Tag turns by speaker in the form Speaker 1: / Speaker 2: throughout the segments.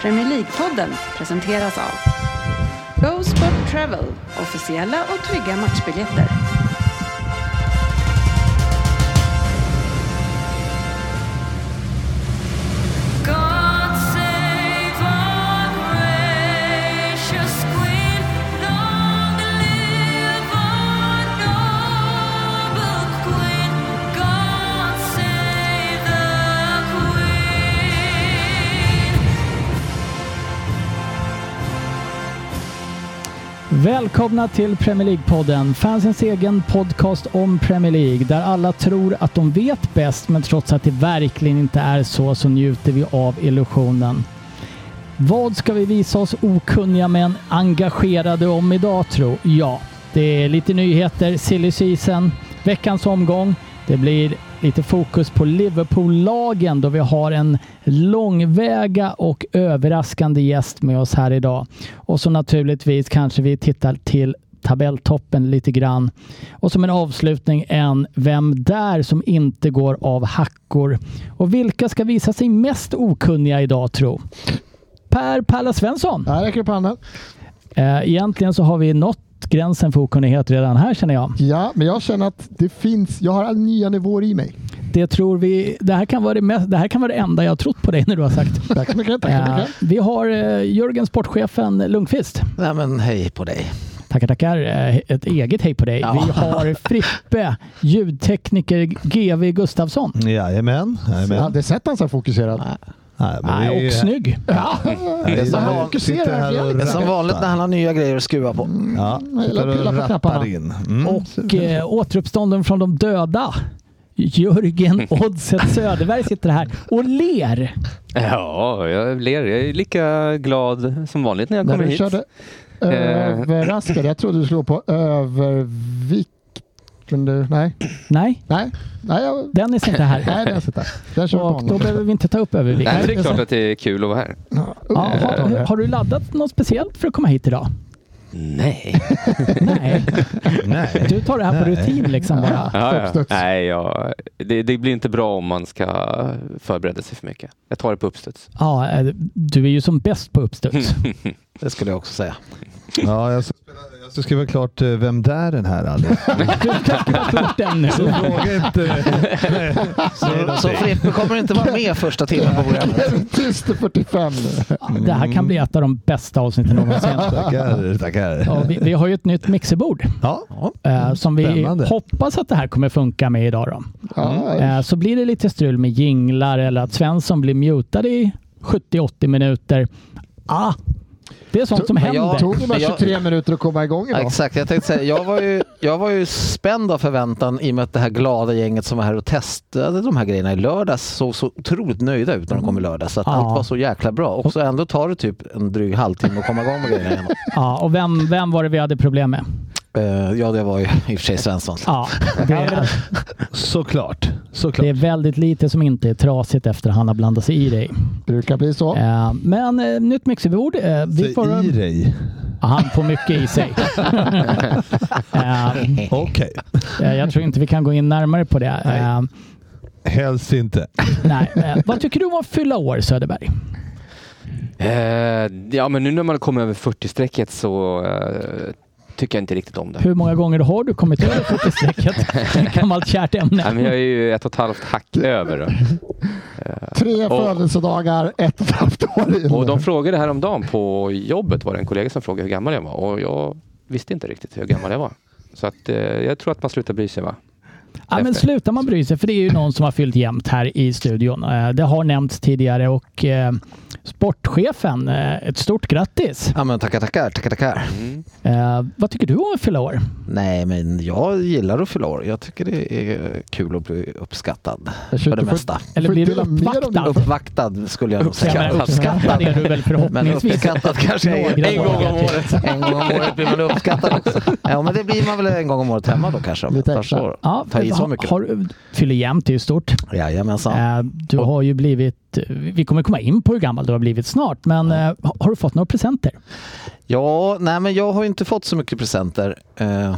Speaker 1: Premier League-podden presenteras av Go Sport Travel, officiella och trygga matchbiljetter.
Speaker 2: God save our gracious Queen. Long live our noble Queen. God save the Queen.
Speaker 3: Välkomna till Premier League-podden, fansens egen podcast om Premier League, där alla tror att de vet bäst, men trots att det verkligen inte är så, så njuter vi av illusionen. Vad ska vi visa oss okunniga men engagerade om idag, tro? Ja, det är lite nyheter, silly season, veckans omgång, det blir lite fokus på Liverpool-lagen då vi har en långväga och överraskande gäst med oss här idag. Och så naturligtvis kanske vi tittar till tabelltoppen lite grann. Och som en avslutning en Vem där som inte går av hackor. Och vilka ska visa sig mest okunniga idag tro? Per Palla Svensson.
Speaker 4: Där räcker det på handen.
Speaker 3: Eh, Egentligen så har vi nått gränsen för okunnighet redan här känner jag.
Speaker 4: Ja, men jag känner att det finns, jag har nya nivåer i mig.
Speaker 3: Det tror vi, det här kan vara det, mest, det, här kan vara det enda jag har trott på dig när du har sagt.
Speaker 4: Tack så mycket, tack så
Speaker 3: Eh,
Speaker 4: mycket.
Speaker 3: vi har eh, Jörgen, sportchefen Lundqvist.
Speaker 5: Nej men hej på dig.
Speaker 3: Tackar, tackar. Eh, Ett eget hej på dig.
Speaker 5: Ja.
Speaker 3: Vi har Frippe, ljudtekniker GV Gustafsson.
Speaker 6: Jajamän.
Speaker 4: Jag
Speaker 6: jajamän.
Speaker 4: hade sett han så här fokuserad.
Speaker 6: Nej, men
Speaker 3: Nej,
Speaker 6: det är-
Speaker 3: Ah, och snygg.
Speaker 4: Ja,
Speaker 6: Nej,
Speaker 5: Det är som van-
Speaker 6: jag sitter
Speaker 4: fokuserar
Speaker 6: här Mm. och
Speaker 4: verkligen.
Speaker 5: Men som
Speaker 6: rattar.
Speaker 5: vanligt när han har nya grejer att skruva på.
Speaker 6: Ja,
Speaker 4: Mm, Jag gillar
Speaker 6: sitter
Speaker 4: att pilla
Speaker 6: och
Speaker 4: på
Speaker 6: rattar
Speaker 4: knapparna.
Speaker 6: in. Mm.
Speaker 3: Och eh, återuppstånden från de döda. Jörgen Oddset Söderberg sitter här och ler.
Speaker 7: Ja, jag ler. Jag är lika glad som vanligt när jag
Speaker 4: när
Speaker 7: kommer
Speaker 4: du
Speaker 7: hit.
Speaker 4: körde överraskad. Jag trodde du skulle gå på övervikt. Men du, nej,
Speaker 3: Nej,
Speaker 4: nej, nej, jag,
Speaker 3: Dennis är inte här.
Speaker 4: nej den sitter. Den kör vi på
Speaker 3: Och då
Speaker 4: honom.
Speaker 3: behöver vi inte ta upp övervikt.
Speaker 7: Nej, men det är klart att det är kul att vara här.
Speaker 3: Ja, har, har du laddat något speciellt för att komma hit idag?
Speaker 7: Nej.
Speaker 3: Nej,
Speaker 6: Nej.
Speaker 3: du tar det här på
Speaker 6: Nej.
Speaker 3: rutin liksom bara.
Speaker 7: Ja, ja.
Speaker 4: Uppstuds.
Speaker 7: Nej, ja. Det, det blir inte bra om man ska förbereda sig för mycket. Jag tar det på uppstuds.
Speaker 3: Ja, eh, du är ju som bäst på uppstuds.
Speaker 5: Det skulle jag också säga.
Speaker 6: Ja, jag ska, spela- jag ska skriva klart eh, Vem där den här Alice.
Speaker 3: Du kanske har gjort den nu.
Speaker 6: Så fråga inte.
Speaker 5: Så, så Frippe kommer inte vara med första timmen på programmet.
Speaker 4: Tyst i 45 nu.
Speaker 3: Det här kan bli ett av de bästa avsnitten någonsin.
Speaker 6: Tackar, tackar.
Speaker 3: Ja, vi, vi har ju ett nytt mixerbord
Speaker 6: Ja,
Speaker 3: eh, som vi
Speaker 6: Spännande.
Speaker 3: hoppas att det här kommer funka med idag. Då.
Speaker 4: Ja,
Speaker 3: Eh, så blir det lite strul med jinglar eller att Svensson blir mutad i 70-80 minuter. Ah, det är sånt som
Speaker 5: Men jag-
Speaker 3: händer.
Speaker 4: tog det bara
Speaker 5: Jag-
Speaker 4: 23 minuter att komma igång
Speaker 5: Ja,
Speaker 4: idag.
Speaker 5: exakt, jag tänkte säga, jag var, ju, jag var ju spänd av förväntan i och med att det här glada gänget som var här och testade de här grejerna i lördags såg så otroligt nöjda ut när de kom i lördags. Så att
Speaker 3: Ja.
Speaker 5: allt var så jäkla bra. Och så ändå tar det typ en dryg halvtimme att komma igång med grejerna igen.
Speaker 3: Ja, och vem, vem var det vi hade problem med?
Speaker 5: Eh, ja, det var ju i och för sig Svensson.
Speaker 3: Ja, det, är,
Speaker 6: såklart.
Speaker 3: det är
Speaker 6: såklart.
Speaker 3: väldigt lite som inte är trasigt efter att han har blandat sig i dig.
Speaker 4: Brukar bli så.
Speaker 3: Eh, men eh, nytt mixerbord. Eh, vi
Speaker 6: Säg i
Speaker 3: får,
Speaker 6: dig.
Speaker 3: han får mycket i sig. Eh,
Speaker 6: Okej,
Speaker 3: Eh, Jag tror inte vi kan gå in närmare på det.
Speaker 6: Nej.
Speaker 3: Eh,
Speaker 6: helst inte.
Speaker 3: nej. Eh, vad tycker du om att fylla år Söderberg?
Speaker 7: Eh, ja, men nu när man kommer över 40-strecket så eh, tycker jag inte riktigt om det.
Speaker 3: Hur många gånger har du kommit över 40-strecket? Gammalt kärt
Speaker 7: Nej, men
Speaker 3: ämne.
Speaker 7: jag är ju ett och ett halvt hack över. Då.
Speaker 4: Tre födelsedagar, ett och ett halvt år in.
Speaker 7: Och de frågade häromdagen på jobbet, var det en kollega som frågade hur gammal jag var och jag visste inte riktigt hur gammal jag var. Så att, eh, jag tror att man slutar bry sig va?
Speaker 3: Ja, men sluta man bry sig, för det är ju någon som har fyllt jämnt här i studion. Eh, det har nämnts tidigare och eh, sportchefen, eh, ett stort grattis.
Speaker 5: Ja men tackar, tackar, tackar, tackar.
Speaker 7: Mm.
Speaker 3: Eh, vad tycker du om att fylla år?
Speaker 5: Nej men jag gillar att fylla år. Jag tycker det är kul att bli uppskattad.
Speaker 4: Jag
Speaker 5: För det
Speaker 4: skjuter
Speaker 5: mesta.
Speaker 3: Eller
Speaker 4: Får
Speaker 3: blir du
Speaker 4: dela med dig om
Speaker 3: uppvaktad?
Speaker 5: Uppvaktad skulle jag nog
Speaker 3: Jag
Speaker 5: säga.
Speaker 3: menar, Uppskattad är du väl
Speaker 5: Men
Speaker 3: förhoppningsvis?
Speaker 5: uppskattad kanske en,
Speaker 3: Några
Speaker 5: en gång om
Speaker 3: dagar
Speaker 5: året. En gång om året blir man uppskattad också. Ja men det blir man väl en gång om året hemma då kanske. om
Speaker 4: Lite
Speaker 5: ett par
Speaker 4: extra.
Speaker 5: år.
Speaker 3: Ja,
Speaker 5: Ta i så
Speaker 3: har-
Speaker 5: mycket.
Speaker 3: har- Fyller jämnt, det är ju stort.
Speaker 5: Jajamensan.
Speaker 3: Eh, Du har ju blivit, vi kommer komma in på hur gammal du har blivit snart, men eh, ha- har du fått några presenter?
Speaker 5: Ja, nej men jag har ju inte fått så mycket presenter. Eh,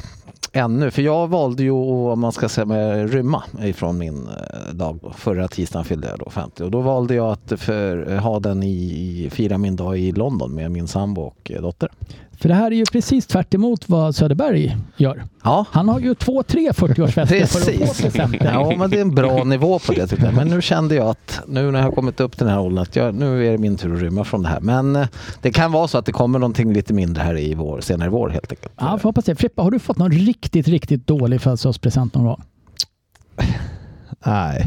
Speaker 5: ännu. För jag valde ju att, om man ska säga med rymma ifrån min eh, dag. då. Förra tisdagen fyllde jag då 50 och då valde jag att för, eh, ha den i, i, fira min dag i London med min sambo och eh, dotter.
Speaker 3: För det här är ju precis tvärt emot vad Söderberg gör.
Speaker 5: Ja,
Speaker 3: Han har ju två, tre 40-årsfester för att få
Speaker 5: Precis.
Speaker 3: presenter.
Speaker 5: Ja, men det är en bra nivå på det tycker jag. Men nu kände jag att nu när jag har kommit upp till den här åldern att jag, nu är det min tur att rymma från det här. Men eh, det kan vara så att det kommer någonting lite mindre här i vår, senare i vår helt enkelt.
Speaker 3: Ja, får hoppas det. Frippa, har du fått någon riktigt, riktigt dålig födelsedagspresent någon gång?
Speaker 6: Nej,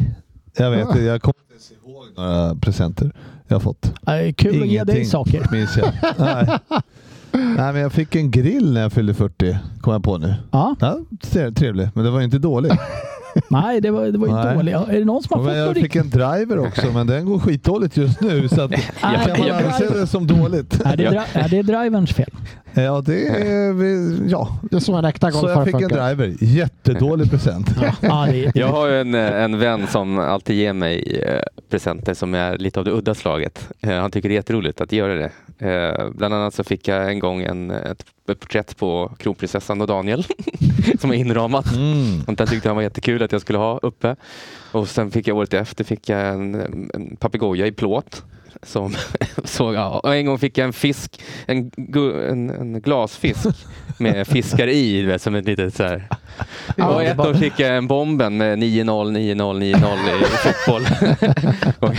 Speaker 6: jag
Speaker 3: Ah.
Speaker 6: vet inte. Jag kommer inte ens ihåg några presenter jag har fått.
Speaker 3: Eh, Kul att ge dig saker.
Speaker 6: minns jag. Nej. Nej, men jag fick en grill när jag fyllde 40, kom jag på nu.
Speaker 3: Ja,
Speaker 6: Ja, tre- trevlig, men det var inte dålig.
Speaker 3: nej, det var, det var ju
Speaker 6: Nej.
Speaker 3: dåligt. Är det någon som har
Speaker 6: Men
Speaker 3: fått något
Speaker 6: jag fick
Speaker 3: riktigt?
Speaker 6: en driver också, men den går skitdåligt just nu. Så att, kan man
Speaker 3: jag-
Speaker 6: anse det som dåligt?
Speaker 3: Är det, dra- är det driverns fel?
Speaker 6: Ja, det är... vi- Ja.
Speaker 4: Det är så en äkta
Speaker 6: Så
Speaker 4: golfare
Speaker 6: jag fick en
Speaker 4: funkar.
Speaker 6: driver. Jättedålig present.
Speaker 3: Ja, det,
Speaker 7: Jag har ju en, eh, en vän som alltid ger mig eh, presenter som är lite av det udda slaget. Eh, Han tycker det är jätteroligt att göra det. Eh, Bland annat så fick jag en gång en, ett, ett porträtt på kronprinsessan och Daniel som är inramat.
Speaker 6: Mm.
Speaker 7: Sånt där tyckte han var jättekul att jag skulle ha uppe. Och sen fick jag året efter fick jag en, en papegoja i plåt. Som såg, ja. Och en gång fick jag en fisk, en, gu- en, en glasfisk med fiskar i, du vet, som ett litet så här. och ett år fick jag en bomben med 9-0, 9-0, 9-0 i fotboll. och,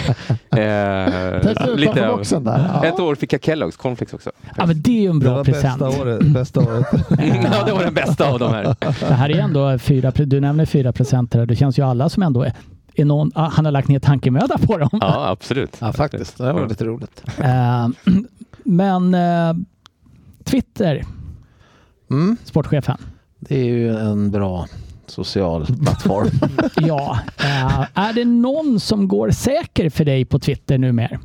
Speaker 4: Tänkte
Speaker 7: eh,
Speaker 4: du
Speaker 7: lite
Speaker 4: utanför
Speaker 7: av-
Speaker 4: boxen där?
Speaker 7: Ett år fick jag Kelloggs cornflakes också.
Speaker 3: ja, men det är ju en
Speaker 6: Det
Speaker 3: bra
Speaker 6: var
Speaker 3: present.
Speaker 6: bästa året. Bästa året.
Speaker 7: ja, det var den bästa av de här.
Speaker 3: Det här är ändå fyra, pre- du nämner fyra presenter. här. Det känns ju alla som ändå är, är någon, ah, han har lagt ner tankemöda på dem.
Speaker 7: Ja, absolut.
Speaker 5: Ja, faktiskt. Det var lite roligt.
Speaker 3: Eh, men eh, Twitter,
Speaker 5: Mm,
Speaker 3: sportchefen.
Speaker 5: det är ju en bra social plattform.
Speaker 3: Ja, eh, är det någon som går säker för dig på Twitter numera?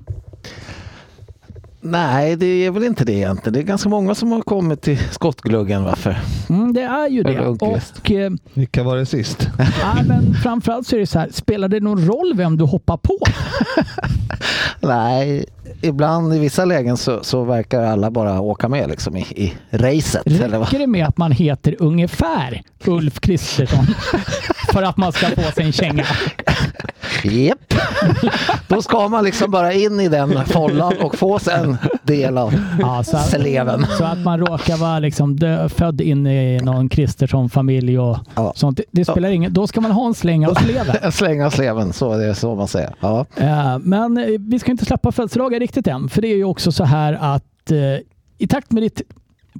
Speaker 5: Nej, det är väl inte det egentligen. Det är ganska många som har kommit till skottgluggen. Varför?
Speaker 3: Mm, det är ju
Speaker 5: Eller
Speaker 3: det.
Speaker 5: Lundqvist.
Speaker 3: Och, eh,
Speaker 6: Vilka var det sist?
Speaker 3: nej, men framförallt så är det så här, spelar det någon roll vem du hoppar på?
Speaker 5: Nej, ibland i vissa lägen så, så verkar alla bara åka med liksom i, i racet. Eller vad?
Speaker 3: Räcker det med att man heter ungefär Ulf Kristersson för att man ska få sig en känga?
Speaker 5: Japp. Då ska man liksom bara in i den follan och få sig en del av
Speaker 3: Ja, så, att,
Speaker 5: sleven.
Speaker 3: så att man råkar vara liksom dö, född in i någon Kristersson-familj och
Speaker 5: Ja.
Speaker 3: sånt. Det, det spelar ingen Då ska man ha en släng av sleven.
Speaker 5: En släng av sleven, så det är så man säger. Ja.
Speaker 3: Eh, Men eh, vi ska inte släppa födelsedagar riktigt än, för det är ju också så här att eh, i takt med ditt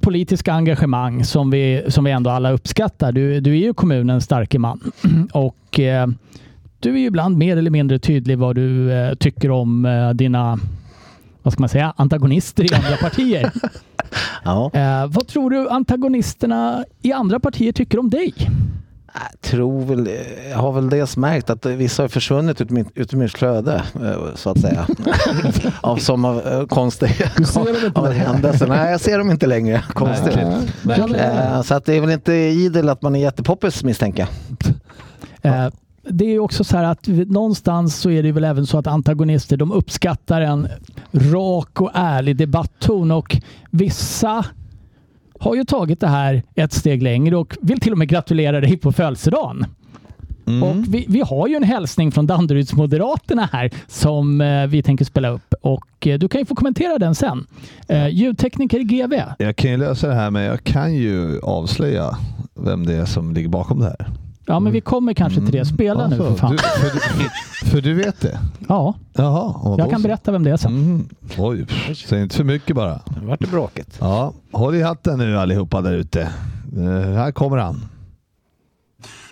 Speaker 3: politiska engagemang som vi, som vi ändå alla uppskattar. Du, du är ju kommunens starke man och eh, du är ju ibland mer eller mindre tydlig vad du eh, tycker om eh, dina vad ska man säga, antagonister i andra partier.
Speaker 5: Ja.
Speaker 3: Eh, vad tror du antagonisterna i andra partier tycker om dig?
Speaker 5: Jag Äh, tror väl, jag har väl dels märkt att vissa har försvunnit ut mitt, ut ur mitt flöde, eh, så att säga. av som av eh, konstiga
Speaker 4: ser dem inte
Speaker 5: av
Speaker 4: längre.
Speaker 5: händelser. Nej, jag ser dem inte längre. Konstigt. Eh, Så att det är väl inte idel att man är jättepoppis misstänker jag.
Speaker 3: Eh, Det är ju också så här att vi- någonstans så är det väl även så att antagonister de uppskattar en rak och ärlig debattton och vissa har ju tagit det här ett steg längre och vill till och med gratulera dig på födelsedagen.
Speaker 6: Mm.
Speaker 3: Och vi, vi har ju en hälsning från Danderydsmoderaterna här som eh, vi tänker spela upp och eh, du kan ju få kommentera den sen. Eh, ljudtekniker GV.
Speaker 6: Jag kan ju lösa det här, men jag kan ju avslöja vem det är som ligger bakom det här.
Speaker 3: Ja, men vi kommer kanske till det. Spela nu
Speaker 6: Alltså,
Speaker 3: för fan.
Speaker 6: Du, för, du, för du vet det?
Speaker 3: Ja,
Speaker 6: Jaha. vad
Speaker 3: jag
Speaker 6: då
Speaker 3: kan
Speaker 6: så.
Speaker 3: berätta vem det är sen.
Speaker 6: Mm. Oj, säg inte för mycket bara.
Speaker 5: Det vart det bråkigt.
Speaker 6: Ja, håll i hatten nu allihopa där ute. Eh, här kommer han.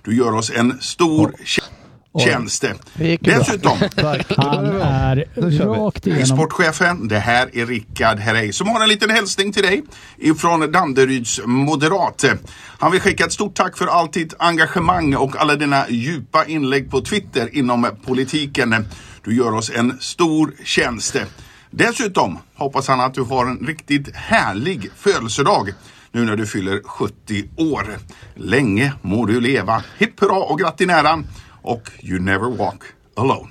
Speaker 8: Du gör oss en stor tjä- tjänst.
Speaker 5: gick ju bra.
Speaker 8: Dessutom,
Speaker 6: Tack.
Speaker 3: Han är
Speaker 6: Nu kör vi.
Speaker 3: rakt
Speaker 8: är
Speaker 3: igenom
Speaker 8: sportchefen, det här är Rickard Herrey som har en liten hälsning till dig ifrån Danderyds moderat. Han vill skicka ett stort tack för allt ditt engagemang och alla dina djupa inlägg på Twitter inom politiken. Du gör oss en stor tjänst. Dessutom hoppas han att du har en riktigt härlig födelsedag nu när du fyller 70 år. Länge må du leva. Hipp hurra och grattinäran och you never walk alone.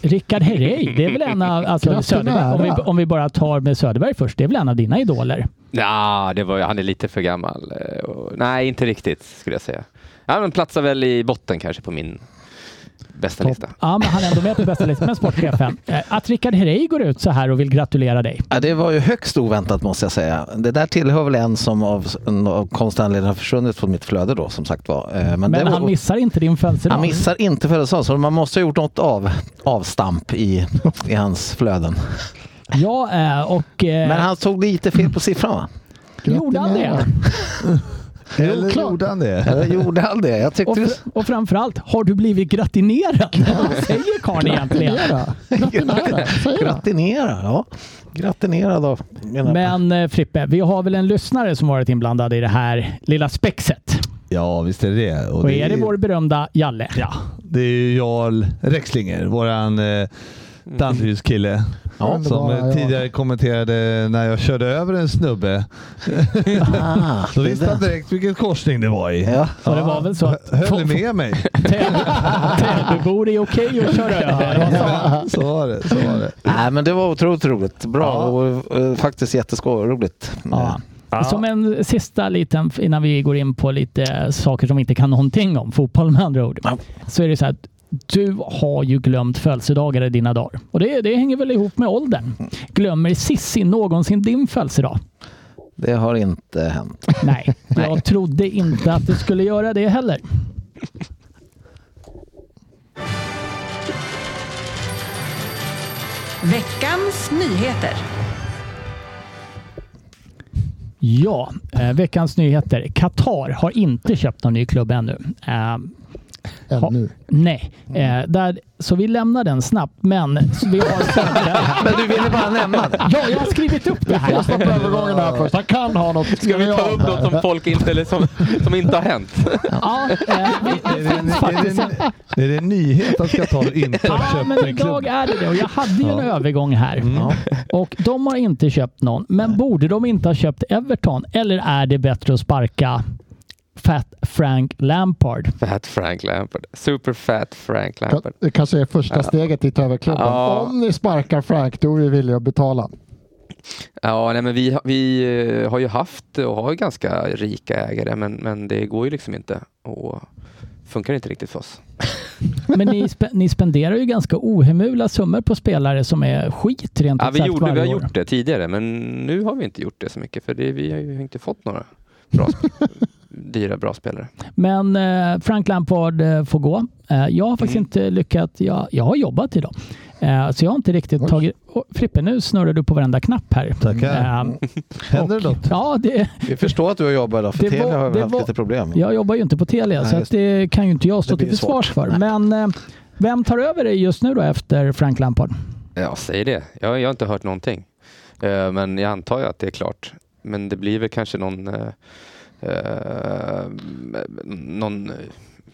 Speaker 3: Rickard Herrey, det är väl en av... Alltså,
Speaker 4: Knappt
Speaker 3: Söderberg, om, vi,
Speaker 4: nära.
Speaker 3: om vi bara tar med Söderberg först, det är väl en av dina idoler?
Speaker 7: Ja, det var, han är lite för gammal. eh, Och, nej, inte riktigt skulle jag säga. Ja, men platsar väl i botten kanske på min bästa lista.
Speaker 3: Ja, men han är ändå med på bästa listan, men sportchefen. Eh, Att Rickard Herrey går ut så här och vill gratulera dig.
Speaker 5: Ja, det var ju högst oväntat måste jag säga. Det där tillhör väl en som av, en av konstanledningar har försvunnit från mitt flöde då som sagt var. Eh, Men, det
Speaker 3: Men
Speaker 5: var,
Speaker 3: han missar inte din födelsedag.
Speaker 5: han missar inte födelsedagen så man måste ha gjort något av, avstamp i, i hans flöden.
Speaker 3: Ja, eh, och... eh,
Speaker 5: Men han tog lite fel på siffran va?
Speaker 3: Gjorde han det?
Speaker 6: Eller
Speaker 4: klart.
Speaker 6: gjorde han det?
Speaker 5: Eller gjorde han det? Jag tyckte
Speaker 3: Och,
Speaker 5: du...
Speaker 3: fr- och framförallt, har du blivit gratinerad? Vad säger karln egentligen?
Speaker 4: Gratulerar. Gratulerar. Säger jag.
Speaker 5: Gratinera, ja. Gratinera då. menar jag.
Speaker 3: Men eh, Frippe, vi har väl en lyssnare som varit inblandad i det här lilla spexet.
Speaker 6: Ja, visst är det det. Och
Speaker 3: Och är det vår berömda Jalle? Ja.
Speaker 6: det är ju Jarl Rexlinger, våran eh, Danderydskille.
Speaker 4: Ja.
Speaker 6: som eh,
Speaker 4: Ja.
Speaker 6: tidigare kommenterade när jag körde över en snubbe.
Speaker 5: Ah,
Speaker 6: Då
Speaker 5: det
Speaker 6: visste
Speaker 5: där.
Speaker 6: han direkt vilken korsning det var i.
Speaker 5: Ja.
Speaker 3: Och det var väl så att
Speaker 6: Höll med mig.
Speaker 3: Täby- Täbybor är okej att köra över.
Speaker 6: Så var det. Så var det.
Speaker 5: Nej, men det var otroligt roligt. Bra
Speaker 6: Ja.
Speaker 5: och eh, faktiskt jätteskojroligt.
Speaker 3: Ja. Som en sista liten, innan vi går in på lite saker som vi inte kan någonting om, fotboll med andra ord.
Speaker 5: Ja.
Speaker 3: Så är det så här att du har ju glömt födelsedagar i dina dagar. Och det, det hänger väl ihop med åldern. Glömmer Sissi någonsin din födelsedag?
Speaker 5: Det har inte hänt.
Speaker 3: Nej, jag trodde inte att du skulle göra det heller.
Speaker 1: Veckans nyheter.
Speaker 3: Ja, eh, veckans nyheter. Qatar har inte köpt någon ny klubb ännu. Eh,
Speaker 4: Ännu.
Speaker 3: nej, eh, där, så vi lämnar den snabbt. Men vi har
Speaker 5: Men du ville bara nämna det.
Speaker 3: Ja, jag har skrivit upp det
Speaker 4: Jag
Speaker 3: här.
Speaker 4: stoppar övergången här först. Han kan ha något.
Speaker 7: Ska vi ta upp något som folk inte, eller som, som inte har hänt?
Speaker 3: Ja, eh, vi-
Speaker 6: Är det, en, är, det en, är det en nyhet att Qatar inte har
Speaker 3: ja,
Speaker 6: köpt
Speaker 3: men
Speaker 6: en klubb?
Speaker 3: idag är det det. Och jag hade ju en
Speaker 6: Ja.
Speaker 3: övergång här.
Speaker 5: Ja.
Speaker 3: Och de har inte köpt någon. Men borde de inte ha köpt Everton? Eller är det bättre att sparka Fat Frank Lampard?
Speaker 7: Fat Frank Lampard. Super fat Frank Lampard.
Speaker 4: Det kanske är första steget till att ta över klubben.
Speaker 7: Ja.
Speaker 4: Om ni sparkar Frank, då är vi villiga att betala.
Speaker 7: Ja, nej, men vi, har- vi eh, har ju haft och har ju ganska rika ägare, men, men det går ju liksom inte. Och funkar inte riktigt för oss.
Speaker 3: Men ni, spe, ni spenderar ju ganska ohemula summor på spelare som är skit rent
Speaker 7: Ja, vi,
Speaker 3: sagt
Speaker 7: gjorde, vi
Speaker 3: varje
Speaker 7: har
Speaker 3: år.
Speaker 7: gjort det tidigare, men nu har vi inte gjort det så mycket, för det, vi har ju inte fått några bra, sp- dyra bra spelare.
Speaker 3: Men eh, Frank Lampard eh, får gå. Eh, jag har
Speaker 5: Mm.
Speaker 3: faktiskt inte lyckats. Jag, jag har jobbat idag. Eh, så jag har inte riktigt
Speaker 4: Oj.
Speaker 3: tagit... Oh, Frippe, nu snurrar du på varenda knapp här.
Speaker 6: Tackar.
Speaker 3: Eh,
Speaker 6: Händer det något?
Speaker 3: ja, det,
Speaker 5: Vi förstår att du har jobbat idag, för
Speaker 3: Det
Speaker 5: Telia
Speaker 3: var-
Speaker 5: har väl
Speaker 3: det
Speaker 5: haft
Speaker 3: var-
Speaker 5: lite problem.
Speaker 3: jag jobbar ju inte på Telia,
Speaker 5: Nej,
Speaker 3: så att
Speaker 5: just
Speaker 3: det kan ju inte jag stå
Speaker 5: Det blir
Speaker 3: till
Speaker 5: ju svårt.
Speaker 3: försvars för. Men eh, vem tar över dig just nu då efter Frank Lampard?
Speaker 7: Ja, säg det. Jag, jag har inte hört någonting. Eh, men jag antar ju att det är klart. Men det blir väl kanske någon... eh, eh, någon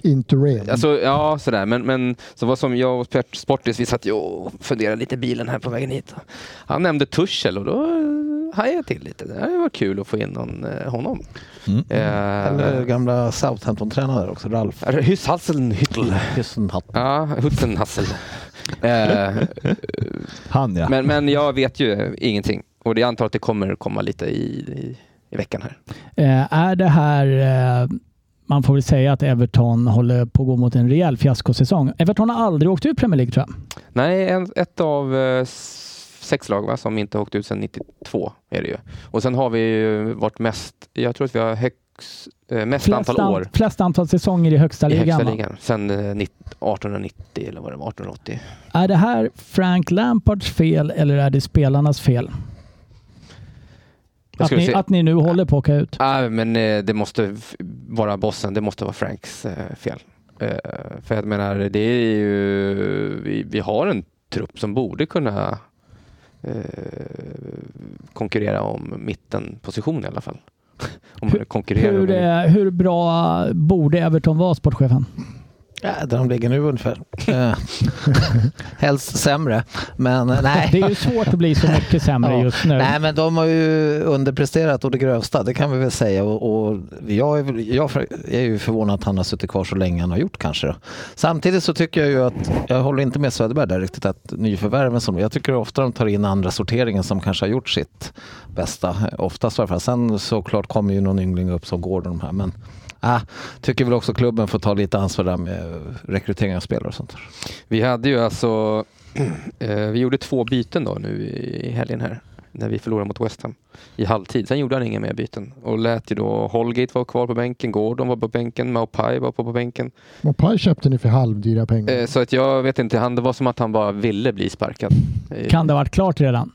Speaker 4: Interrail.
Speaker 7: Alltså, ja, sådär. Men, men så var som jag och Pert- Sportis, vi satt ju och funderade lite i bilen här på vägen hit. Han nämnde Tuchel och då eh, hajade jag till lite. Det var kul att få in någon, eh, honom.
Speaker 6: Mm.
Speaker 7: Eh,
Speaker 5: Eller gamla Southampton-tränare också, Ralf
Speaker 7: Hysselhüttl.
Speaker 5: Hyssenhatt.
Speaker 7: Ja, Huttenhassel. eh,
Speaker 6: Han ja.
Speaker 7: men, men jag vet ju ingenting. Och det- jag antar att det kommer komma lite i, i, i veckan här.
Speaker 3: Eh, är det här... Eh, man får väl säga att Everton håller på att gå mot en rejäl fiaskosäsong. Everton har aldrig åkt ur Premier League tror jag.
Speaker 7: Nej, en, ett av eh, s- sex lag va, som inte har åkt ut sedan 92 är det ju. Och sen har vi ju varit mest, jag tror att vi har högst, eh, mest antal
Speaker 3: an-
Speaker 7: år
Speaker 3: flest antal säsonger i högsta
Speaker 7: i
Speaker 3: ligan.
Speaker 7: högsta
Speaker 3: va?
Speaker 7: ligan. Sen eh, nitt- 1890 eller vad det var, 1880.
Speaker 3: Är det här Frank Lampards fel eller är det spelarnas fel?
Speaker 7: Jag
Speaker 3: Att
Speaker 7: skulle
Speaker 3: ni,
Speaker 7: säga-
Speaker 3: att ni nu håller på att åka ut?
Speaker 7: Ah, men eh, det måste f- vara bossen, det måste vara Franks eh, fel. Eh, för jag menar, det är ju, vi, vi har en trupp som borde kunna eh, konkurrera om mittenposition i alla fall. om man
Speaker 3: Hur-
Speaker 7: konkurrerar om
Speaker 3: Hur,
Speaker 7: en-
Speaker 3: eh, hur bra borde Everton vara, sportchefen?
Speaker 5: Ja, där de ligger nu ungefär. Eh, Helst sämre, men eh, nej.
Speaker 3: Det är ju svårt att bli så mycket sämre
Speaker 5: Ja.
Speaker 3: just nu.
Speaker 5: Nej men de har ju underpresterat och det grövsta, det kan vi väl säga. Och, och jag, är, väl- jag är ju förvånad att han har suttit kvar så länge han har gjort kanske. Då. Samtidigt så tycker jag ju att, jag håller inte med Söderberg där riktigt, att nyförvärven som, jag tycker ofta de tar in andra sorteringen som kanske har gjort sitt bästa, oftast i alla fall. Sen såklart kommer ju någon yngling upp som går de här, men Ah, tycker väl också klubben får ta lite ansvar där med rekrytering av spelare och sånt.
Speaker 7: Vi hade ju alltså, eh, vi gjorde två byten då nu i i helgen här när vi förlorade mot West Ham i halvtid. Sen gjorde han inga mer byten och lät ju då Holgate vara kvar på bänken, Gordon var på bänken, Maupai var på, på bänken.
Speaker 4: Mopai köpte ni för halvdyra pengar.
Speaker 7: Eh, så att jag vet inte, han, det var som att han bara ville bli sparkad. Eh,
Speaker 3: Kan det ha varit klart redan?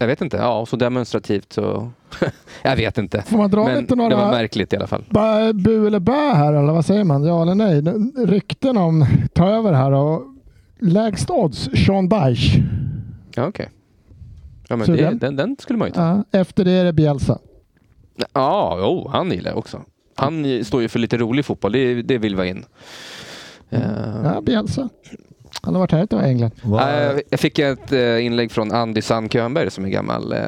Speaker 7: Jag vet inte, ja så demonstrativt så, jag vet inte.
Speaker 4: Får man dra
Speaker 7: Men
Speaker 4: lite
Speaker 7: det var
Speaker 4: några
Speaker 7: märkligt i alla fall.
Speaker 4: ba, bu eller bä här eller vad säger man? Ja eller nej? N- Rykten om ta över här och lägst odds Sean Dyche.
Speaker 7: Ja, okej. Ja, men
Speaker 4: Så
Speaker 7: det,
Speaker 4: den-
Speaker 7: den, den skulle man ju ta.
Speaker 4: Ja, efter det är det Bielsa.
Speaker 7: Ja, jo, han gillar jag också. Han ju- står ju för lite rolig fotboll, det, det vill vi in. Eh,
Speaker 4: Ja, Bielsa. Han har varit här ett tag i England.
Speaker 6: Vad-
Speaker 7: Eh, Jag fick ett eh, inlägg från Andy Sand Könberg som är gammal eh,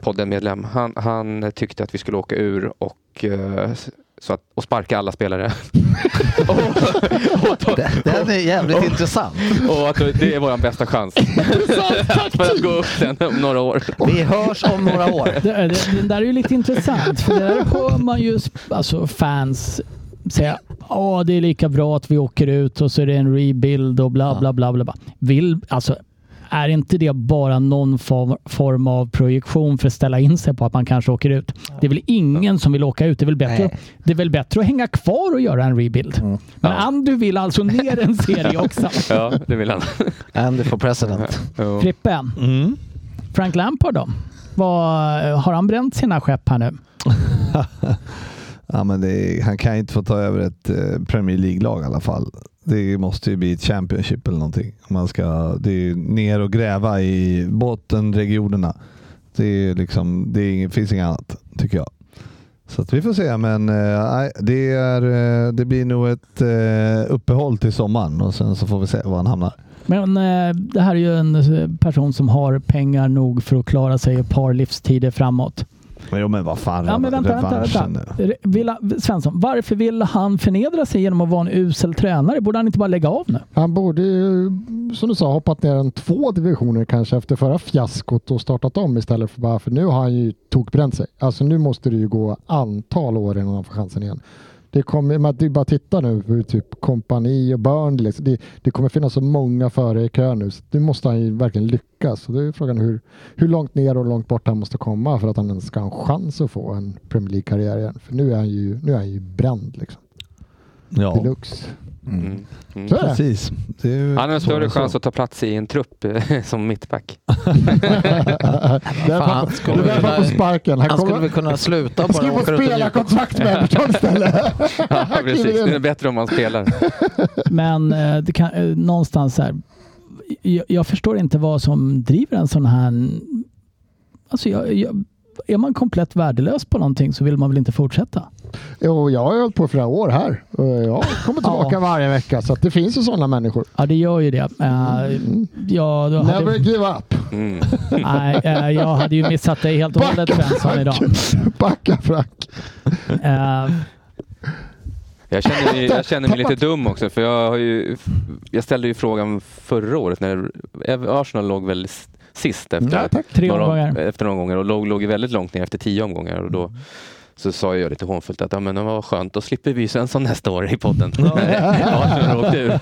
Speaker 7: poddenmedlem. Han, han tyckte att vi skulle åka ur och, eh, s- så att, och sparka alla spelare. och, och, ta-
Speaker 5: Den är jävligt intressant.
Speaker 7: och att det är vår bästa chans för att gå upp sen om några år.
Speaker 5: Vi hörs om några år.
Speaker 3: Det, det, det där är ju lite intressant, för det där hör man ju sp- alltså fans säga åh det är lika bra att vi åker ut och så är det en rebuild och bla bla bla. bla, bla. Vill, alltså, är inte det bara någon form, form av projektion för att ställa in sig på att man kanske åker ut? Det är väl ingen som vill åka ut? Det är väl bättre,
Speaker 5: Nej.
Speaker 3: det är väl bättre att hänga kvar och göra en rebuild?
Speaker 5: Mm.
Speaker 3: Men
Speaker 7: Ja.
Speaker 3: Andu vill alltså ner en serie också.
Speaker 7: Ja, det vill han.
Speaker 5: Andy for president.
Speaker 7: Jo.
Speaker 3: Frippe,
Speaker 6: Mm.
Speaker 3: Frank Lampard då? Vad, har han bränt sina skepp här nu?
Speaker 6: Ja, men det är, han kan ju inte få ta över ett eh, Premier League-lag i alla fall. Det måste ju bli ett Championship eller någonting. Man ska, det är ju ner och gräva i bottenregionerna. Det, är liksom, det är, inget- finns inget annat, tycker jag. Så att vi får se, men eh, nej, det, är, eh, det blir nog ett eh, uppehåll till sommaren och sen så får vi se var han hamnar.
Speaker 3: Men eh, det här är ju en eh, person som har pengar nog för att klara sig ett par livstider framåt.
Speaker 6: Men, jo, men vad fan,
Speaker 3: Ja, men vänta, vänta,
Speaker 6: revanschen
Speaker 3: vänta. Re- Vill, han- Svensson, varför vill han förnedra sig genom att vara en usel tränare? Borde han inte bara lägga av nu?
Speaker 4: Han borde ju, som du sa, hoppat ner en två divisioner kanske efter förra fiaskot och startat om istället för bara, för nu har han ju tokbränt sig. Alltså nu måste det ju gå antal år innan han får chansen igen. Det kommer, man det är bara att titta nu på typ kompani och Burnley. Liksom. Det, det kommer finnas så många före i kön nu. Så nu måste han ju verkligen lyckas. Och då är frågan hur, hur långt ner och långt bort han måste komma för att han ens ska ha en chans att få en Premier League-karriär igen. För nu är han ju, nu är han ju bränd liksom.
Speaker 6: Ja,
Speaker 4: Deluxe.
Speaker 7: Mm. Mm.
Speaker 4: Så är det.
Speaker 6: precis. Det är ju
Speaker 7: Han har en större
Speaker 6: så-
Speaker 7: chans att ta plats i en trupp eh, som mittback.
Speaker 4: Det är
Speaker 5: Fan,
Speaker 4: pappa-
Speaker 5: skulle
Speaker 4: det
Speaker 5: vi
Speaker 4: är pappa på
Speaker 5: kunna-
Speaker 4: sparken. Han
Speaker 5: Han skulle
Speaker 4: kommer,
Speaker 5: väl kunna sluta
Speaker 4: han
Speaker 5: bara
Speaker 4: skulle få
Speaker 5: åka ut och njuta.
Speaker 4: spelarkontrakt med Everton istället.
Speaker 7: Ja, precis. Det är bättre om man spelar.
Speaker 3: Men eh, det kan, eh, någonstans här. Jag, jag förstår inte vad som driver en sån här... Alltså jag, jag, är man komplett värdelös på någonting så vill man väl inte fortsätta?
Speaker 4: Jo, jag har ju hållit på i flera år här. Och Jag kommer tillbaka
Speaker 3: Ja.
Speaker 4: varje vecka. Så att det finns ju sådana människor.
Speaker 3: Ja, det gör ju det. Eh, ja, då hade-
Speaker 4: Never give up.
Speaker 7: Mm.
Speaker 3: Nej, eh, jag hade ju missat dig helt och hållet
Speaker 4: Backa,
Speaker 3: Svensson idag.
Speaker 4: Backa Frank.
Speaker 3: Eh,
Speaker 7: Jag känner, mig, jag känner mig lite dum också för jag, har ju, jag ställde ju frågan förra året när Arsenal låg väl s- sist efter,
Speaker 3: tre
Speaker 7: några,
Speaker 3: omgångar.
Speaker 7: efter några omgångar och låg, låg ju väldigt långt ner efter tio omgångar och då så sa jag lite hånfullt att ja, men det var skönt, då slipper vi Svensson nästa år i podden. Arsenal åkte ur.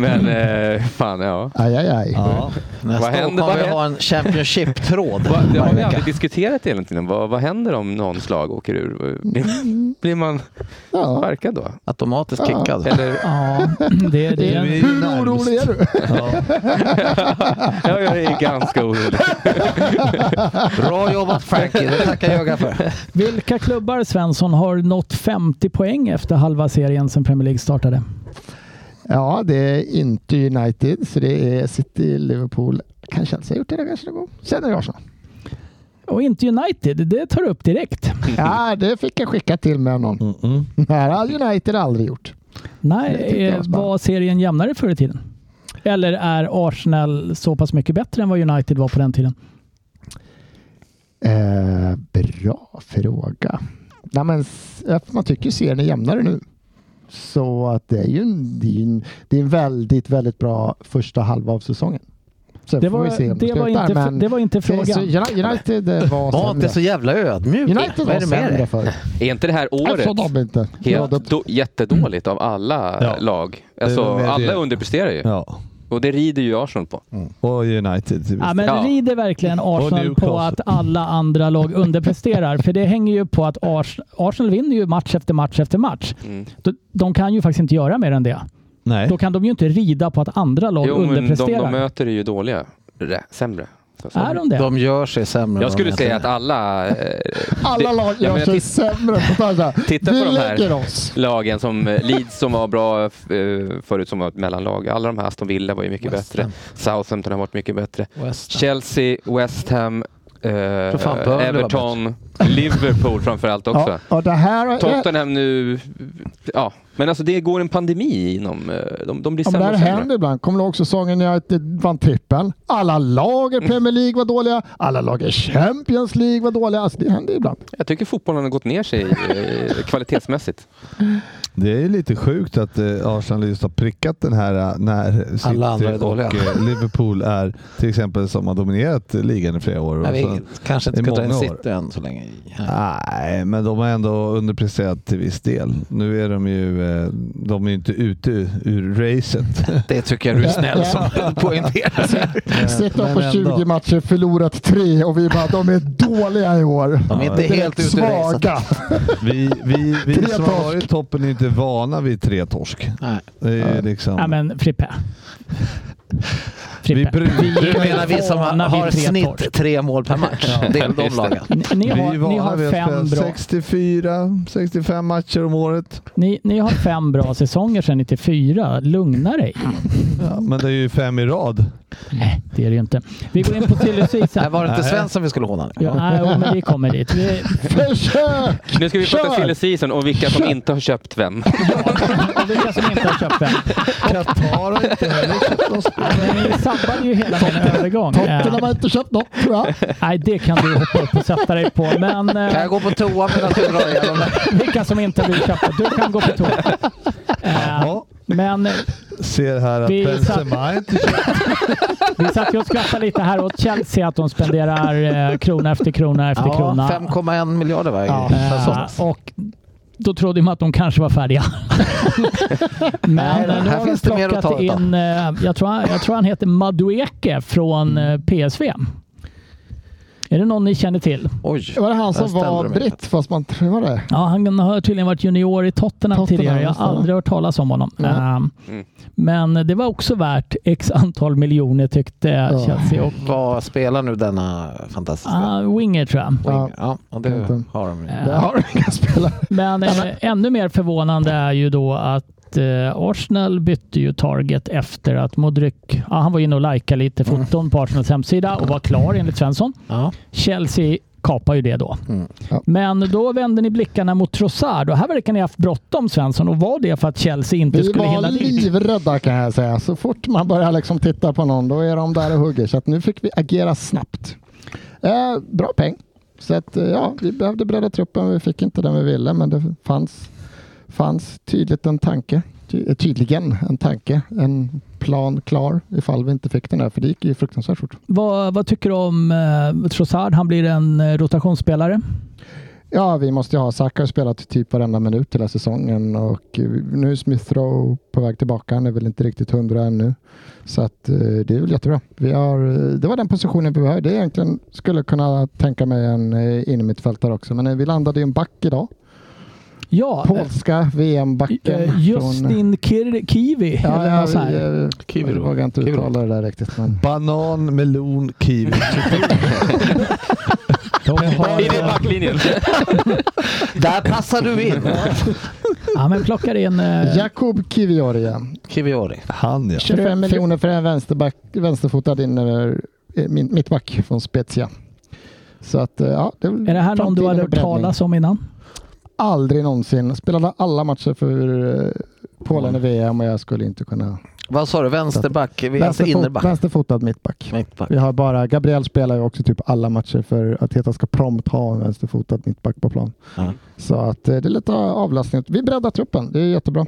Speaker 7: Men eh, fan ja.
Speaker 4: Aj, aj, aj.
Speaker 6: Ja.
Speaker 5: Nästa
Speaker 7: Vad händer-
Speaker 5: år
Speaker 7: vad
Speaker 5: kommer vi
Speaker 7: händer-
Speaker 5: ha en Championship-tråd.
Speaker 7: Va, det har
Speaker 5: varje
Speaker 7: vi
Speaker 5: vecka.
Speaker 7: aldrig diskuterat egentligen. Vad, vad händer om någon slag åker ur? Blir, blir man
Speaker 4: Ja.
Speaker 7: sparkad då?
Speaker 5: Automatiskt kickad.
Speaker 7: Eller,
Speaker 3: Ja, det, det är en,
Speaker 4: Hur orolig är du?
Speaker 7: ja, jag är ganska orolig.
Speaker 5: Bra jobbat Frankie, det tackar jag för.
Speaker 3: Vilka klubbar Svensson har nått 50 poäng efter halva serien sedan Premier League startade?
Speaker 4: Ja, det är inte United. Så det är City, Liverpool. Kan Chelsea ha gjort det där kanske någon gång? Sen är det Arsenal.
Speaker 3: Och inte United, det tar du upp direkt.
Speaker 4: Ja, det fick jag skicka till mig av någon.
Speaker 6: Mm-mm.
Speaker 4: Det här har United aldrig gjort.
Speaker 3: Nej,
Speaker 4: tyckte jag var
Speaker 3: eh,
Speaker 4: spännande.
Speaker 3: var serien jämnare förr i tiden? Eller är Arsenal så pass mycket bättre än vad United var på den tiden?
Speaker 4: Eh, bra fråga. Nej, men, s- eh, man tycker serien är jämnare nu. Så att det är ju en, det är ju en, det är en väldigt, väldigt bra första halva av säsongen. Sen
Speaker 3: Det
Speaker 4: får
Speaker 3: var,
Speaker 4: vi se om
Speaker 3: det var,
Speaker 4: slutar,
Speaker 3: inte,
Speaker 4: men
Speaker 3: det var inte
Speaker 4: det är så-
Speaker 3: frågan.
Speaker 4: Uni- United eh, var
Speaker 5: Var
Speaker 4: sämre.
Speaker 5: inte så jävla ödmjuk.
Speaker 4: United
Speaker 5: Vad
Speaker 4: var
Speaker 5: är det med
Speaker 4: sämre
Speaker 5: dig?
Speaker 4: förr.
Speaker 7: Är inte det här
Speaker 4: Jag
Speaker 7: året
Speaker 4: sa de inte.
Speaker 7: helt
Speaker 4: Radat-
Speaker 7: då, jättedåligt av alla
Speaker 6: Ja.
Speaker 7: lag?
Speaker 6: är
Speaker 7: Alltså,
Speaker 6: väl det.
Speaker 7: alla underpresterar ju.
Speaker 6: Ja.
Speaker 7: Och det rider ju Arsenal på.
Speaker 6: Och United. till viss
Speaker 3: Ja, men
Speaker 7: Ja.
Speaker 3: rider verkligen Arsenal
Speaker 6: Newcastle.
Speaker 3: på att alla andra lag underpresterar? För det hänger ju på att Ars Arsenal vinner ju match efter match efter match.
Speaker 7: Mm.
Speaker 3: De, de kan ju faktiskt inte göra mer än det.
Speaker 6: Nej.
Speaker 3: Då kan de ju inte rida på att andra lag
Speaker 7: Jo, men de,
Speaker 3: underpresterar.
Speaker 7: de möter är ju dåliga. Rä, sämre. Så- så-
Speaker 3: är de det?
Speaker 5: De gör sig sämre.
Speaker 7: Jag
Speaker 5: än
Speaker 7: skulle
Speaker 5: de
Speaker 7: säga att
Speaker 5: egentligen
Speaker 7: alla eh,
Speaker 4: Alla
Speaker 7: Det-
Speaker 4: lag
Speaker 7: Ja,
Speaker 4: gör
Speaker 7: men jag
Speaker 4: sig
Speaker 7: titt-
Speaker 4: sämre totalt.
Speaker 7: Titta
Speaker 4: Vi
Speaker 7: på de här.
Speaker 4: lägger oss.
Speaker 7: lagen som eh, Leeds som var bra eh, förut som var ett mellanlag. Alla de här, Aston Villa var ju mycket
Speaker 5: West
Speaker 7: bättre. Southampton har varit mycket bättre.
Speaker 5: West Ham.
Speaker 7: Chelsea, West Ham, eh,
Speaker 5: fan Burnley var
Speaker 7: Everton, Liverpool framförallt också.
Speaker 4: Ja, och det här är,
Speaker 7: Tottenham nu, ja. Men alltså det går en pandemi inom, eh, de, de blir
Speaker 4: Ja, men det
Speaker 7: sämre
Speaker 4: här
Speaker 7: och sämre.
Speaker 4: händer ibland. Kommer du ihåg säsongen när United vann trippeln? Alla lag i Premier League var dåliga. Alla lag i Champions League var dåliga. Alltså, det händer ibland.
Speaker 7: Jag tycker fotbollen har gått ner sig eh, kvalitetsmässigt.
Speaker 6: Det är ju lite sjukt att eh, Arsenal just har prickat den här eh, när City
Speaker 5: Alla andra är dåliga.
Speaker 6: och eh, Liverpool är till exempel som har dominerat eh, ligan i flera år. Och
Speaker 5: Nej,
Speaker 6: så,
Speaker 5: vi kanske inte
Speaker 6: i
Speaker 5: ska dra in
Speaker 6: Alltså, många år.
Speaker 5: City än så länge.
Speaker 6: nej, men de har ändå underpresterat till viss del. Nu är de ju, eh, de är ju inte ute ur racet.
Speaker 5: Det tycker jag du är snäll som poängterar.
Speaker 4: Sitter de
Speaker 6: men
Speaker 4: på
Speaker 6: ändå.
Speaker 4: 20 matcher, förlorat tre och vi bara de är dåliga i år.
Speaker 5: De är inte
Speaker 4: Direkt
Speaker 5: helt ute ur racet.
Speaker 4: svaga.
Speaker 6: Vi, vi, vi
Speaker 4: Tre
Speaker 6: som
Speaker 4: torsk.
Speaker 6: har varit i toppen är inte vana vid tre torsk.
Speaker 5: Nej.
Speaker 6: Det är ju liksom,
Speaker 3: Ja, men Frippe.
Speaker 6: vi,
Speaker 3: Frippe.
Speaker 6: brukar,
Speaker 5: Du menar vi som har,
Speaker 3: Vana vid
Speaker 5: har
Speaker 3: tre
Speaker 5: snitt
Speaker 3: torsk.
Speaker 5: tre mål per match? Det är de
Speaker 7: Just det.
Speaker 5: lagen.
Speaker 3: Ni, ni,
Speaker 6: vi
Speaker 3: har,
Speaker 6: är
Speaker 3: ni,
Speaker 6: vana
Speaker 3: har
Speaker 6: vid att
Speaker 3: fem
Speaker 6: spela
Speaker 3: bra,
Speaker 6: 64, 65 matcher om året.
Speaker 3: ni, ni har fem bra säsonger sedan 94. Lugna dig.
Speaker 6: Ja, men det är ju fem i rad.
Speaker 3: Nej, det är det ju inte. Vi går in på Silly
Speaker 5: Nej,
Speaker 3: Season.
Speaker 5: var det inte
Speaker 6: Nej.
Speaker 5: Svensson vi skulle håna nu?
Speaker 3: Ja, nej, jo, men vi kommer dit. Vi,
Speaker 4: Försök!
Speaker 7: Nu ska vi prata
Speaker 4: Kör!
Speaker 7: silly season och vilka som inte har köpt vem.
Speaker 3: och vilka som inte har köpt den.
Speaker 6: Qatar har inte heller köpt någon spelare.
Speaker 3: Ni sabbade ju hela min övergång.
Speaker 4: Tottenham har inte köpt något tror jag.
Speaker 3: Eh, nej, det kan du hoppa upp och sätta dig på. Men eh,
Speaker 5: Kan jag gå på toa medan du drar igenom det?
Speaker 3: vilka som inte blir köpta, du kan gå på toa. Eh,
Speaker 6: Ja,
Speaker 3: men
Speaker 6: ser här att
Speaker 3: Vi
Speaker 6: Benzema inte köpt.
Speaker 3: vi satt ju och skrattade lite här åt Chelsea att de spenderar eh, krona efter krona efter
Speaker 5: Ja,
Speaker 3: krona.
Speaker 5: 5,1 miljarder varje
Speaker 4: Ja.
Speaker 5: säsong.
Speaker 3: Eh, och då trodde man att de kanske var färdiga. Men eh,
Speaker 5: Nej,
Speaker 3: nu
Speaker 5: här
Speaker 3: har de
Speaker 5: finns det mer att ta
Speaker 3: plockat
Speaker 5: utav.
Speaker 3: in, eh, jag, tror han, jag tror han heter Madueke från
Speaker 5: Mm.
Speaker 3: eh, PSV. Är det någon ni känner till?
Speaker 5: Oj.
Speaker 4: Var det han som
Speaker 5: Där ställde
Speaker 4: var
Speaker 5: de mig.
Speaker 4: britt fast man tror var det?
Speaker 3: Ja, han har tydligen varit junior i Tottenham,
Speaker 4: Tottenham,
Speaker 3: tidigare. Jag
Speaker 4: just det.
Speaker 3: har aldrig hört talas om honom.
Speaker 4: Nej.
Speaker 3: Ehm,
Speaker 7: Mm.
Speaker 3: Men det var också värt x antal miljoner tyckte Chelsea. Och,
Speaker 5: Vad spelar nu denna fantastiska
Speaker 3: Ah, winger tror jag.
Speaker 5: wing? Ja, och det
Speaker 4: Inte.
Speaker 5: har de ju.
Speaker 4: Där har du inga spelare.
Speaker 3: Men eh, ännu mer förvånande är ju då att eh, Arsenal bytte ju target efter att Modric, ja, han var inne och likade lite
Speaker 4: Mm.
Speaker 3: foton på Arsenals hemsida och var klar enligt Svensson.
Speaker 5: Ja.
Speaker 3: Chelsea kapar ju det då.
Speaker 5: Mm.
Speaker 4: Ja.
Speaker 3: Men då vände ni blickarna mot Trossard och här verkar ni haft bråttom Svensson och var det för att Chelsea inte
Speaker 4: Vi
Speaker 3: skulle hinna
Speaker 4: var
Speaker 3: dit?
Speaker 4: livrädda kan jag säga. Så fort man börjar liksom titta på någon, då är de där och hugger. Så att nu fick vi agera snabbt. Eh, bra peng. Så att, eh, ja, vi behövde bredda truppen. Vi fick inte den vi ville, men det fanns, fanns tydligt en tanke. Ty- eh, tydligen en tanke. En plan klar ifall vi inte fick den där, för det gick ju fruktansvärt fort.
Speaker 3: Vad, vad tycker du om eh, Trossard? Han blir en eh, rotationsspelare.
Speaker 4: Ja, vi måste ju ha Saka har spelat typ varenda minut hela säsongen och eh, nu är Smith Rowe på väg tillbaka. Han är väl inte riktigt hundra ännu. Så att, eh, det är väl jättebra. Vi har, eh, det var den positionen vi behövde. Det är egentligen skulle kunna tänka mig en eh, innermittfältare också, men eh, vi landade i en back idag.
Speaker 3: Ja, eh,
Speaker 4: Polska VM-backen.
Speaker 3: eh, Justin Kir- Kiwi.
Speaker 4: Ja,
Speaker 3: eller
Speaker 4: ja,
Speaker 3: något så här.
Speaker 4: vi, eh,
Speaker 5: Kiwi
Speaker 4: jag
Speaker 5: då.
Speaker 4: vågar inte
Speaker 5: Kiwi då.
Speaker 4: uttala det där riktigt. Men...
Speaker 6: Banan, melon, kiwi.
Speaker 3: De har,
Speaker 7: I den backlinjen.
Speaker 5: Där passar du in!
Speaker 3: ja, men plockar in eh,
Speaker 4: Jakub Kiviori,
Speaker 5: Kiviori.
Speaker 6: Han ja.
Speaker 4: 25 miljoner för en vänsterback, vänsterfotad inner, eh, min- mittback från Spezia. Så att, eh, ja, det
Speaker 3: Är det här någon du hade hört
Speaker 4: framtiden är breddning.
Speaker 3: talas om innan?
Speaker 4: Aldrig någonsin. Spelade alla matcher för eh, Polen är VM och jag skulle inte kunna...
Speaker 5: Vad sa du? Vänsterback? Vi är alltså
Speaker 4: Vänsterfot,
Speaker 5: innerback?
Speaker 4: vänsterfotad mittback.
Speaker 5: Mittback.
Speaker 4: Vi har bara, Gabriel spelar ju också typ alla matcher för att Teta ska prompt ha en vänsterfotad mittback på plan.
Speaker 5: Ja.
Speaker 4: Så att eh, det är lite avlastning. Vi breddar truppen, det är jättebra.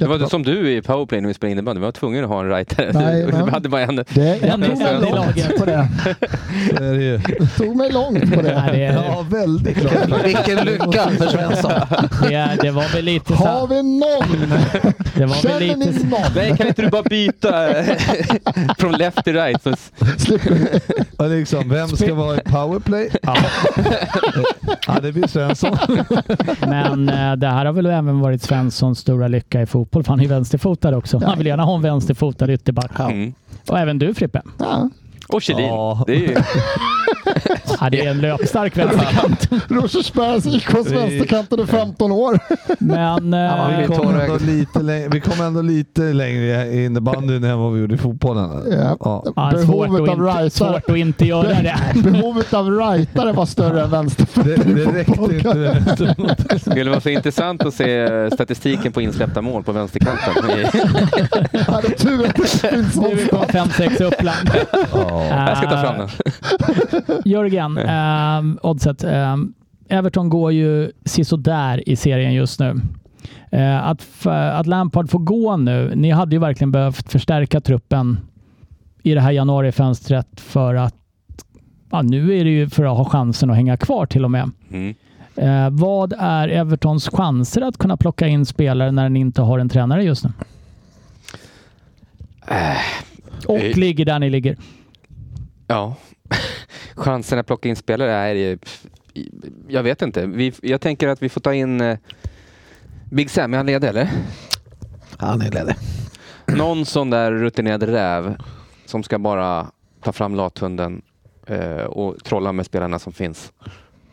Speaker 7: Det var
Speaker 4: Jättebra.
Speaker 7: som du i powerplay när vi spelade innebandy. Vi var tvungna att ha en rightare.
Speaker 4: Nej, men-
Speaker 7: vi hade bara en.
Speaker 4: Det
Speaker 3: Den
Speaker 4: jag
Speaker 3: tog
Speaker 4: tog mig
Speaker 3: väldigt
Speaker 4: långt
Speaker 3: långt.
Speaker 4: på det.
Speaker 6: Det är det ju.
Speaker 4: tog mig långt
Speaker 3: Nej,
Speaker 4: på det.
Speaker 3: det, är,
Speaker 6: Ja, väldigt klart.
Speaker 5: Vilken lycka för Svensson!
Speaker 3: det, är, det var väl lite
Speaker 4: Har
Speaker 3: så.
Speaker 4: vi någon?
Speaker 3: Det var väl
Speaker 4: Känner
Speaker 3: lite
Speaker 4: ni
Speaker 3: så.
Speaker 4: någon?
Speaker 7: Nej, kan inte du bara byta från left till right? Så
Speaker 4: Slipper-
Speaker 6: Och liksom, vem ska vara i powerplay? Ja, ja det blir Svensson.
Speaker 3: Men eh, det här har väl även varit Svenssons stora lycka i fotboll, för han är ju vänsterfotad också. Han vill gärna ha en vänsterfotad ytterback.
Speaker 7: Mm.
Speaker 3: Och även du Frippe.
Speaker 4: Ja.
Speaker 7: Och Kjellin.
Speaker 6: Ja.
Speaker 7: Det är ju...
Speaker 3: Ja, det är en löpstark vänsterkant.
Speaker 4: Rosersbergs IKs
Speaker 6: Vi-
Speaker 4: vänsterkanten i 15 år.
Speaker 3: Men eh,
Speaker 5: men
Speaker 6: Vi
Speaker 5: vi
Speaker 6: kom
Speaker 5: tar-
Speaker 6: ändå lite längre, vi kom ändå lite längre i innebandyn än vad vi gjorde i fotbollen.
Speaker 4: Ja.
Speaker 3: ja,
Speaker 4: Behovet
Speaker 3: svårt,
Speaker 4: av
Speaker 3: att inte,
Speaker 4: rightare.
Speaker 3: svårt att inte göra det.
Speaker 4: Behovet av rightare var större än
Speaker 6: Det,
Speaker 4: vänsterfötter
Speaker 6: det
Speaker 4: i
Speaker 6: räckte
Speaker 4: fotboll.
Speaker 6: inte med efteråt.
Speaker 7: Det skulle vara så intressant att se statistiken på insläppta mål på vänsterkanten.
Speaker 4: Jag hade tur att det finns
Speaker 3: Nu är vi på
Speaker 4: någonstans.
Speaker 3: 5-6 Uppland. Eh,
Speaker 7: Jag ska ta fram den.
Speaker 3: Jörgen, ehm, oddset. ehm, Everton går ju sisådär i serien just nu. Eh, att, f- att Lampard får gå nu. Ni hade ju verkligen behövt förstärka truppen i det här januarifönstret för att ja, nu är det ju för att ha chansen att hänga kvar till och med.
Speaker 7: Mm.
Speaker 3: Eh, vad är Evertons chanser att kunna plocka in spelare när den inte har en tränare just nu?
Speaker 4: Äh.
Speaker 3: Och
Speaker 7: eh.
Speaker 3: ligger där ni ligger.
Speaker 7: Ja. Chansen att plocka in spelare är... ju- Jag vet inte. Vi, jag tänker att vi får ta in... eh, Big Sam, är han ledig eller?
Speaker 5: Han är ledig.
Speaker 7: Någon sån där rutinerad räv som ska bara ta fram lathunden eh, och trolla med spelarna som finns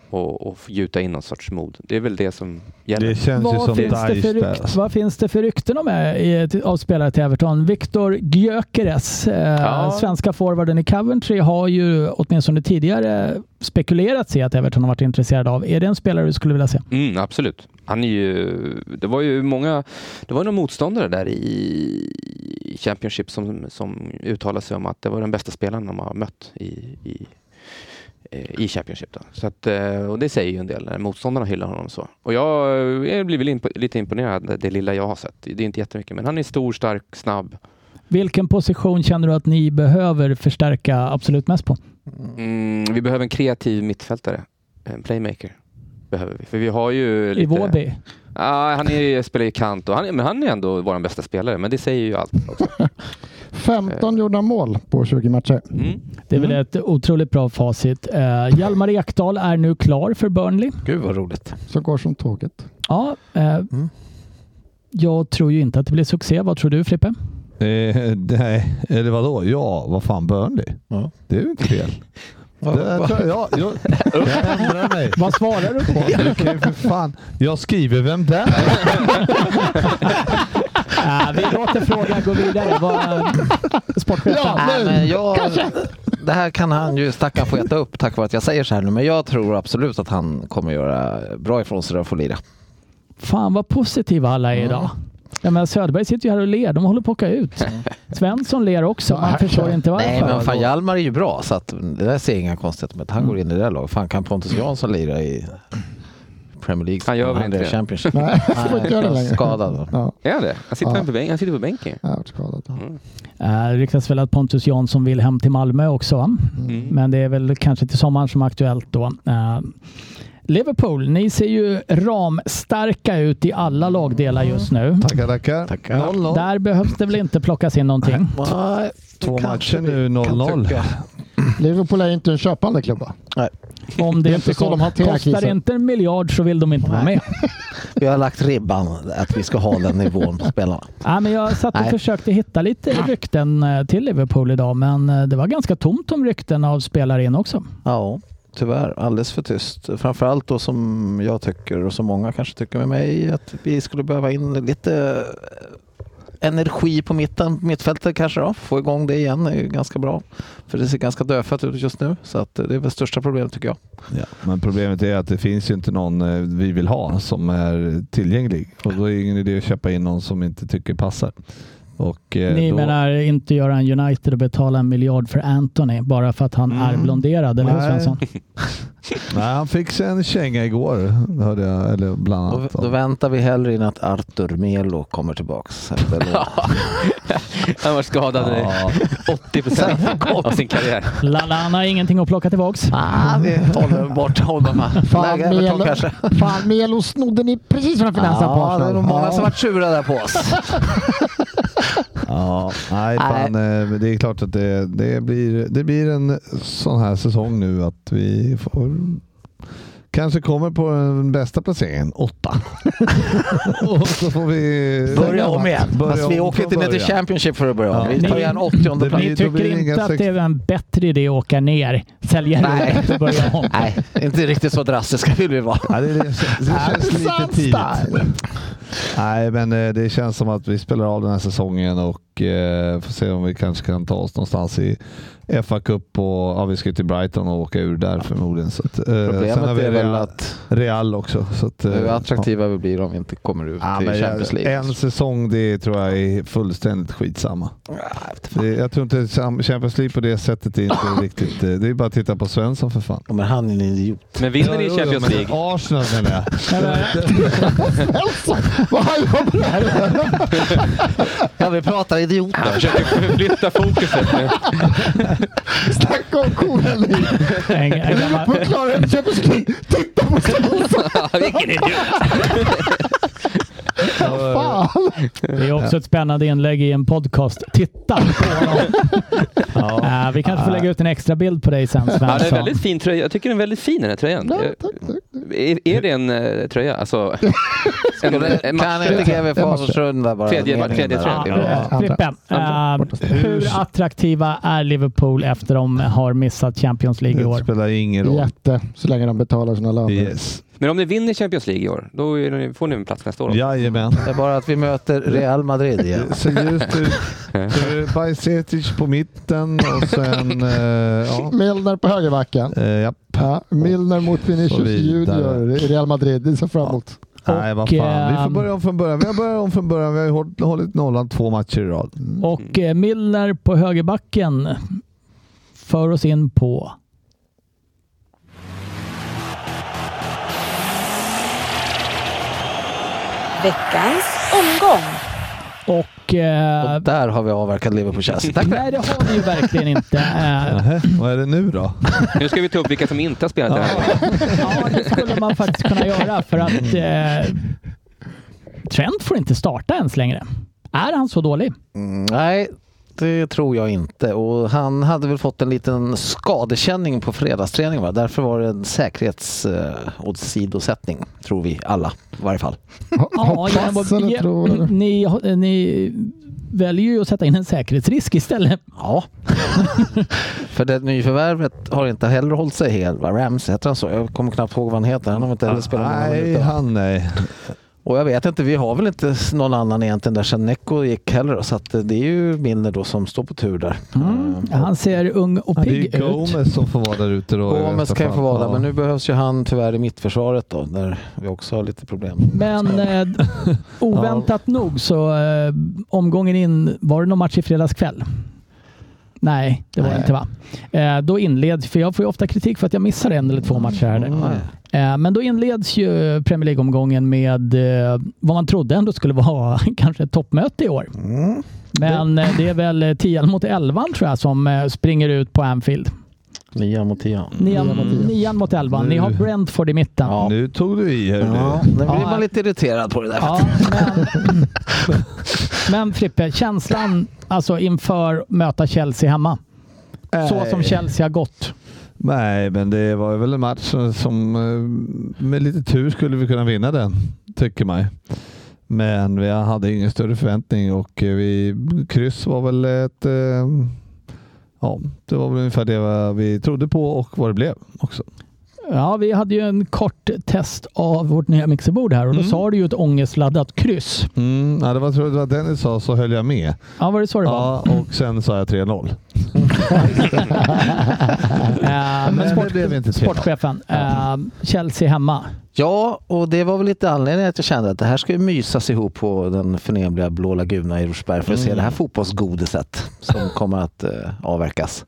Speaker 7: och, och gjuta in någon sorts mod. Det är väl det som gäller.
Speaker 6: Det känns ju som
Speaker 3: Vad finns, det
Speaker 6: Daesh
Speaker 3: för
Speaker 6: där. alltså.
Speaker 3: rykt, vad finns det för rykten om eh, i- till- av spelare till Everton? Viktor Gyökeres, eh,
Speaker 7: Ja.
Speaker 3: svenska forwarden i Coventry, har ju åtminstone tidigare spekulerats i att Everton har varit intresserad av. Är det en spelare du skulle vilja se?
Speaker 7: Mm, absolut. Han är ju, det var ju många, det var några motståndare där i Championship som, som uttalade sig om att det var den bästa spelaren de har mött i, i, eh, i Championship. Då. Så att, eh, och det säger ju en del, när motståndarna hyllar honom så. Och jag eh, blir väl imp lite imponerad, det lilla jag har sett. Det är inte jättemycket, men han är stor, stark, snabb.
Speaker 3: Vilken position känner du att ni behöver förstärka absolut mest på?
Speaker 7: Mm, vi behöver en kreativ mittfältare, en playmaker. Behöver vi. För vi har ju
Speaker 3: I
Speaker 7: lite-
Speaker 3: Vårby?
Speaker 7: Ja, han är, spelar ju kant och han, är- men han är ändå vår bästa spelare, men det säger ju allt. Också.
Speaker 4: 15 gjorda mål på 20 matcher.
Speaker 7: Mm.
Speaker 3: Det är väl ett otroligt bra facit. Eh, Hjalmar Ekdal är nu klar för Burnley.
Speaker 5: Gud vad roligt.
Speaker 4: Som går som tåget.
Speaker 3: Ja, eh,
Speaker 7: Mm.
Speaker 3: Jag tror ju inte att det blir succé. Vad tror du Frippe?
Speaker 6: Eh, nej, eller vadå? Ja, vad fan Burnley?
Speaker 5: Ja.
Speaker 6: Det är ju inte fel. Det tror jag, jag, jag ändrar mig.
Speaker 3: Vad svarar du på?
Speaker 6: Du kan ju för fan. Jag skriver vem där
Speaker 3: Äh, vi låter frågan gå vidare. Vad, sportchefen.
Speaker 4: Ja,
Speaker 5: Nej,
Speaker 4: nej.
Speaker 5: men jag, det här kan han ju stackaren få äta upp tack vare att jag säger så här nu. Men jag tror absolut att han kommer göra bra ifrån sig och få lira.
Speaker 3: Fan vad positiva alla är idag. Ja, men Söderberg sitter ju här och ler. De håller på att åka ut. Svensson ler också. Man
Speaker 4: Ja,
Speaker 3: förstår inte varför.
Speaker 5: Nej men fan Hjalmar är ju bra så att det där ser jag inga konstigheter med.
Speaker 4: Mm.
Speaker 5: Han går in i det där laget. Fan kan Pontus Jansson lira i Premier League?
Speaker 7: Han gör väl inte
Speaker 5: är i
Speaker 7: det?
Speaker 5: Championship.
Speaker 4: Nej, jag får inte göra det
Speaker 5: han är
Speaker 4: längre.
Speaker 5: skadad.
Speaker 4: Ja,
Speaker 7: Är han det? Han sitter,
Speaker 4: Ja.
Speaker 7: på, bänk, han sitter på bänken.
Speaker 4: jag har varit skadad.
Speaker 3: Eh, Det ryktas väl att Pontus Jansson vill hem till Malmö också. Va? Men det är väl kanske till sommaren som är aktuellt då. Eh, Liverpool, ni ser ju ramstarka ut i alla lagdelar just nu.
Speaker 6: Tackar, tackar.
Speaker 5: Tackar.
Speaker 6: 0-0.
Speaker 3: Där behövs det väl inte plockas in någonting?
Speaker 5: Nej,
Speaker 6: Två
Speaker 5: kanske
Speaker 6: matcher
Speaker 5: vi
Speaker 6: nu
Speaker 5: kan
Speaker 6: 0-0.
Speaker 5: tycka.
Speaker 4: Liverpool är inte en köpande klubba.
Speaker 3: Om det,
Speaker 4: Det är
Speaker 3: inte
Speaker 4: inte så de hanterar
Speaker 3: kostar
Speaker 4: krisen.
Speaker 3: inte en miljard så vill de inte vara med.
Speaker 5: Vi har lagt ribban att vi ska ha den nivån på spelarna.
Speaker 3: Ja, men jag satt och
Speaker 5: Nej.
Speaker 3: försökte hitta lite
Speaker 6: Ah.
Speaker 3: rykten eh, till Liverpool idag, men eh, det var ganska tomt om rykten av spelare in också.
Speaker 5: Ja, tyvärr. Alldeles för tyst. Framförallt då som jag tycker och som många kanske tycker med mig att vi skulle behöva in lite eh, energi på mitten, mittfältet kanske då. Få igång det igen är ju ganska bra. För det ser ganska dödfött ut just nu. Så att eh, det är väl största problemet tycker jag.
Speaker 6: Ja, men problemet är att det finns ju inte någon eh, vi vill ha som är tillgänglig. Och då är det ingen idé att köpa in någon som inte tycker passar. Och, eh,
Speaker 3: Ni
Speaker 6: då,
Speaker 3: menar inte göra en United och betala en miljard för Anthony bara för att han
Speaker 6: Mm.
Speaker 3: är blonderad, eller hur
Speaker 6: Nej.
Speaker 3: Svensson?
Speaker 6: Nej, han fick sig en känga igår, hörde jag. Eller bland
Speaker 5: Då,
Speaker 6: annat.
Speaker 5: då väntar vi hellre in att Artur Melo kommer tillbaks. efter det.
Speaker 7: Han var skadad i
Speaker 6: ja.
Speaker 7: 80 procent av sin karriär.
Speaker 3: Lallana har ingenting att plocka tillbaks.
Speaker 5: ah, vi håller bort honom.
Speaker 4: Fan,
Speaker 5: Läge Everton
Speaker 4: Melo.
Speaker 5: kanske.
Speaker 4: Fan, Melo snodde ni precis framför näsan på
Speaker 5: Ja, det är nog många som
Speaker 4: Ja.
Speaker 5: varit sura där på oss.
Speaker 6: Ja, nej, fan, eh, det är klart att det, det, blir, det blir en sån här säsong nu att vi får Kanske kommer på den bästa placeringen, åtta. och så får vi...
Speaker 5: Börja om igen.
Speaker 6: Börja
Speaker 5: Fast vi
Speaker 6: om
Speaker 5: åker
Speaker 6: från
Speaker 5: inte ner till
Speaker 6: början.
Speaker 5: Championship för att börja om.
Speaker 6: Ja.
Speaker 5: Vi tar igen 80
Speaker 6: Det blir-
Speaker 5: plats.
Speaker 3: Ni
Speaker 6: då
Speaker 3: tycker
Speaker 6: det inga
Speaker 3: inte att
Speaker 6: sex-
Speaker 3: det är en bättre idé att åka ner, sälja
Speaker 5: Nej.
Speaker 3: det och börja om?
Speaker 5: Nej, inte riktigt så drastiska vill vi vara.
Speaker 6: Ja, det, det, det känns lite
Speaker 4: Sunstyle.
Speaker 6: tidigt. Nej, men eh, det känns som att vi spelar av den här säsongen och eh, får se om vi kanske kan ta oss någonstans i FA Cup och ja, vi ska till Brighton och åka ur där förmodligen. Så att, eh, sen har
Speaker 5: Problemet
Speaker 6: vi
Speaker 5: är väl
Speaker 6: Real,
Speaker 5: att
Speaker 6: Real också. Så att, eh,
Speaker 5: hur attraktiva vi blir om vi inte kommer ut
Speaker 6: Ja,
Speaker 5: i
Speaker 6: men
Speaker 5: Champions
Speaker 6: jag,
Speaker 5: League.
Speaker 6: en säsong, det tror jag är fullständigt skitsamma. Det, jag tror inte Cham- Champions League på det sättet är inte riktigt... eh, Det är bara att titta på Svensson för fan.
Speaker 5: Men han är en idiot.
Speaker 7: Men vinner ni Champions
Speaker 6: men
Speaker 7: League?
Speaker 6: Arsenal menar jag.
Speaker 4: Alltså, vad har jag på det här?
Speaker 5: Ja, vi pratar
Speaker 7: Han
Speaker 5: idioter.
Speaker 7: försöker förflytta fokuset nu.
Speaker 4: Snacka om kohandel.
Speaker 3: En, en gammal,
Speaker 4: Förklara en Champions League. Titta på Svensson.
Speaker 7: Vilken idiot!
Speaker 4: Fan.
Speaker 3: det är också ett spännande inlägg i en podcast. Titta på honom! Äh, vi kanske får lägga ut en extra bild på dig sen
Speaker 7: Ja, det är en
Speaker 3: Svensson.
Speaker 7: väldigt fin tröja. Jag tycker den är väldigt fin den här tröjan.
Speaker 4: Ja, tack, tack.
Speaker 7: Är, är det en eh, tröja? Alltså, en, en
Speaker 5: Kan inte
Speaker 7: matchtröja?
Speaker 5: GW Fagerstrunda bara?
Speaker 7: Tredje-
Speaker 5: meningen
Speaker 7: tredje
Speaker 5: där?
Speaker 7: trend.
Speaker 5: Ja.
Speaker 3: Ja, Frippen,
Speaker 4: andra.
Speaker 3: eh, hur attraktiva är Liverpool efter de har missat Champions League i
Speaker 6: Det
Speaker 3: år?
Speaker 6: spelar ingen roll.
Speaker 4: Jätte, så länge de betalar sina löner.
Speaker 6: Yes.
Speaker 7: Men om ni vinner Champions League i år, då är ni, får ni en plats nästa år. Ja.
Speaker 6: Jajamän.
Speaker 5: Det är bara att vi möter Real Madrid igen.
Speaker 6: Så just nu, så är det Bajsetic på mitten och sen... eh, ja.
Speaker 4: Milner på högerbacken.
Speaker 6: Eh, ja.
Speaker 4: Ja, Milner mot
Speaker 6: Så
Speaker 4: Vinicius
Speaker 6: vidare.
Speaker 4: Junior i Real Madrid. Det ser fram emot.
Speaker 6: Nej, vad fan. Vi får
Speaker 3: ehm,
Speaker 6: börja om från början. Vi har börjat om från början. Vi har ju hållit- hållit nollan två matcher i rad.
Speaker 3: Och eh, Milner på högerbacken för oss in på
Speaker 9: Veckans omgång.
Speaker 3: och... eh,
Speaker 5: Och där har vi avverkat Liverpool-Chelsea. Tack för det.
Speaker 3: nej, det har vi ju verkligen inte. Eh,
Speaker 6: Nähä, Vad är det nu då?
Speaker 7: Nu ska vi ta upp vilka som inte har spelat den här gången.
Speaker 3: ja, det skulle man faktiskt kunna göra för att eh, Trent får inte starta ens längre. Är han så dålig?
Speaker 5: Mm, Nej, det tror jag inte. Och han hade väl fått en liten skadekänning på fredagsträningen. Va? Därför var det en säkerhetsåsidosättning, tror vi alla i varje fall.
Speaker 4: Ha-
Speaker 3: genom att-
Speaker 4: Hoppas eller
Speaker 3: ge-
Speaker 4: tror. eller?
Speaker 3: ni, ni väljer ju att sätta in en säkerhetsrisk istället.
Speaker 5: Ja, för det nyförvärvet har inte heller hållit sig hel. Va? Rams heter han så? Jag kommer knappt ihåg vad han heter. Han har inte heller spelat någon
Speaker 6: nej,
Speaker 5: minut. va?
Speaker 6: han nej.
Speaker 5: Och jag vet inte, vi har väl inte s- någon annan egentligen där sen Neko gick heller. Så att eh, det är ju Milner då som står på tur där. Mm.
Speaker 3: Han ser ung och
Speaker 6: Det är
Speaker 3: pigg
Speaker 6: ju
Speaker 3: ut.
Speaker 6: Gomez som får vara där ute då. i
Speaker 5: Gomes
Speaker 6: värsta
Speaker 5: kan ju få
Speaker 6: fall.
Speaker 5: vara där,
Speaker 6: Ja.
Speaker 5: men nu behövs ju han tyvärr i mittförsvaret då, där vi också har lite problem.
Speaker 3: Men eh, oväntat nog så eh, omgången in, var det någon match i fredags kväll? Nej, det var det
Speaker 5: Nej.
Speaker 3: inte va? Eh, då inleds, för jag får ju ofta kritik för att jag missar en eller två matcher här.
Speaker 5: Nej.
Speaker 3: Eh, men då inleds ju Premier League-omgången med eh, vad man trodde ändå skulle vara kanske ett toppmöte i år. Men eh, det är väl eh, 10 mot 11 tror jag som eh, springer ut på Anfield.
Speaker 5: Nia mot tia.
Speaker 3: Nian, nian mot 11. Ni har Brentford i mitten.
Speaker 5: Ja.
Speaker 6: Nu tog du i. hörru.
Speaker 5: Ja, nu blir
Speaker 3: Ja.
Speaker 5: man lite irriterad på det där.
Speaker 3: Ja, men, men Frippe, känslan alltså inför möta Chelsea hemma. Så
Speaker 6: Nej.
Speaker 3: som Chelsea har gått.
Speaker 6: Nej, men det var väl en match som- som eh, med lite tur skulle vi kunna vinna den, tycker man. ju. Men vi hade ingen större förväntning och eh, vi, kryss var väl ett... eh, Ja, det var väl ungefär det vi trodde på och vad det blev också.
Speaker 3: Ja, vi hade ju en kort test av vårt nya mixerbord här och då sa du ju ett ångestladdat kryss.
Speaker 6: Mm, ja, det var tror jag det var Dennis sa så höll jag med.
Speaker 3: Ja, var det så det var?
Speaker 6: Ja, och sen sa jag 3-0.
Speaker 3: Eh, men
Speaker 6: Men
Speaker 3: sport,
Speaker 6: det blev inte tre.
Speaker 3: sportchefen, eh, Chelsea hemma.
Speaker 5: Ja, och det var väl lite anledningen att jag kände att det här ska ju mysas ihop på den förnämliga Blå Laguna i Rosberg för att
Speaker 3: Mm.
Speaker 5: se det här fotbollsgodiset som kommer att eh, avverkas.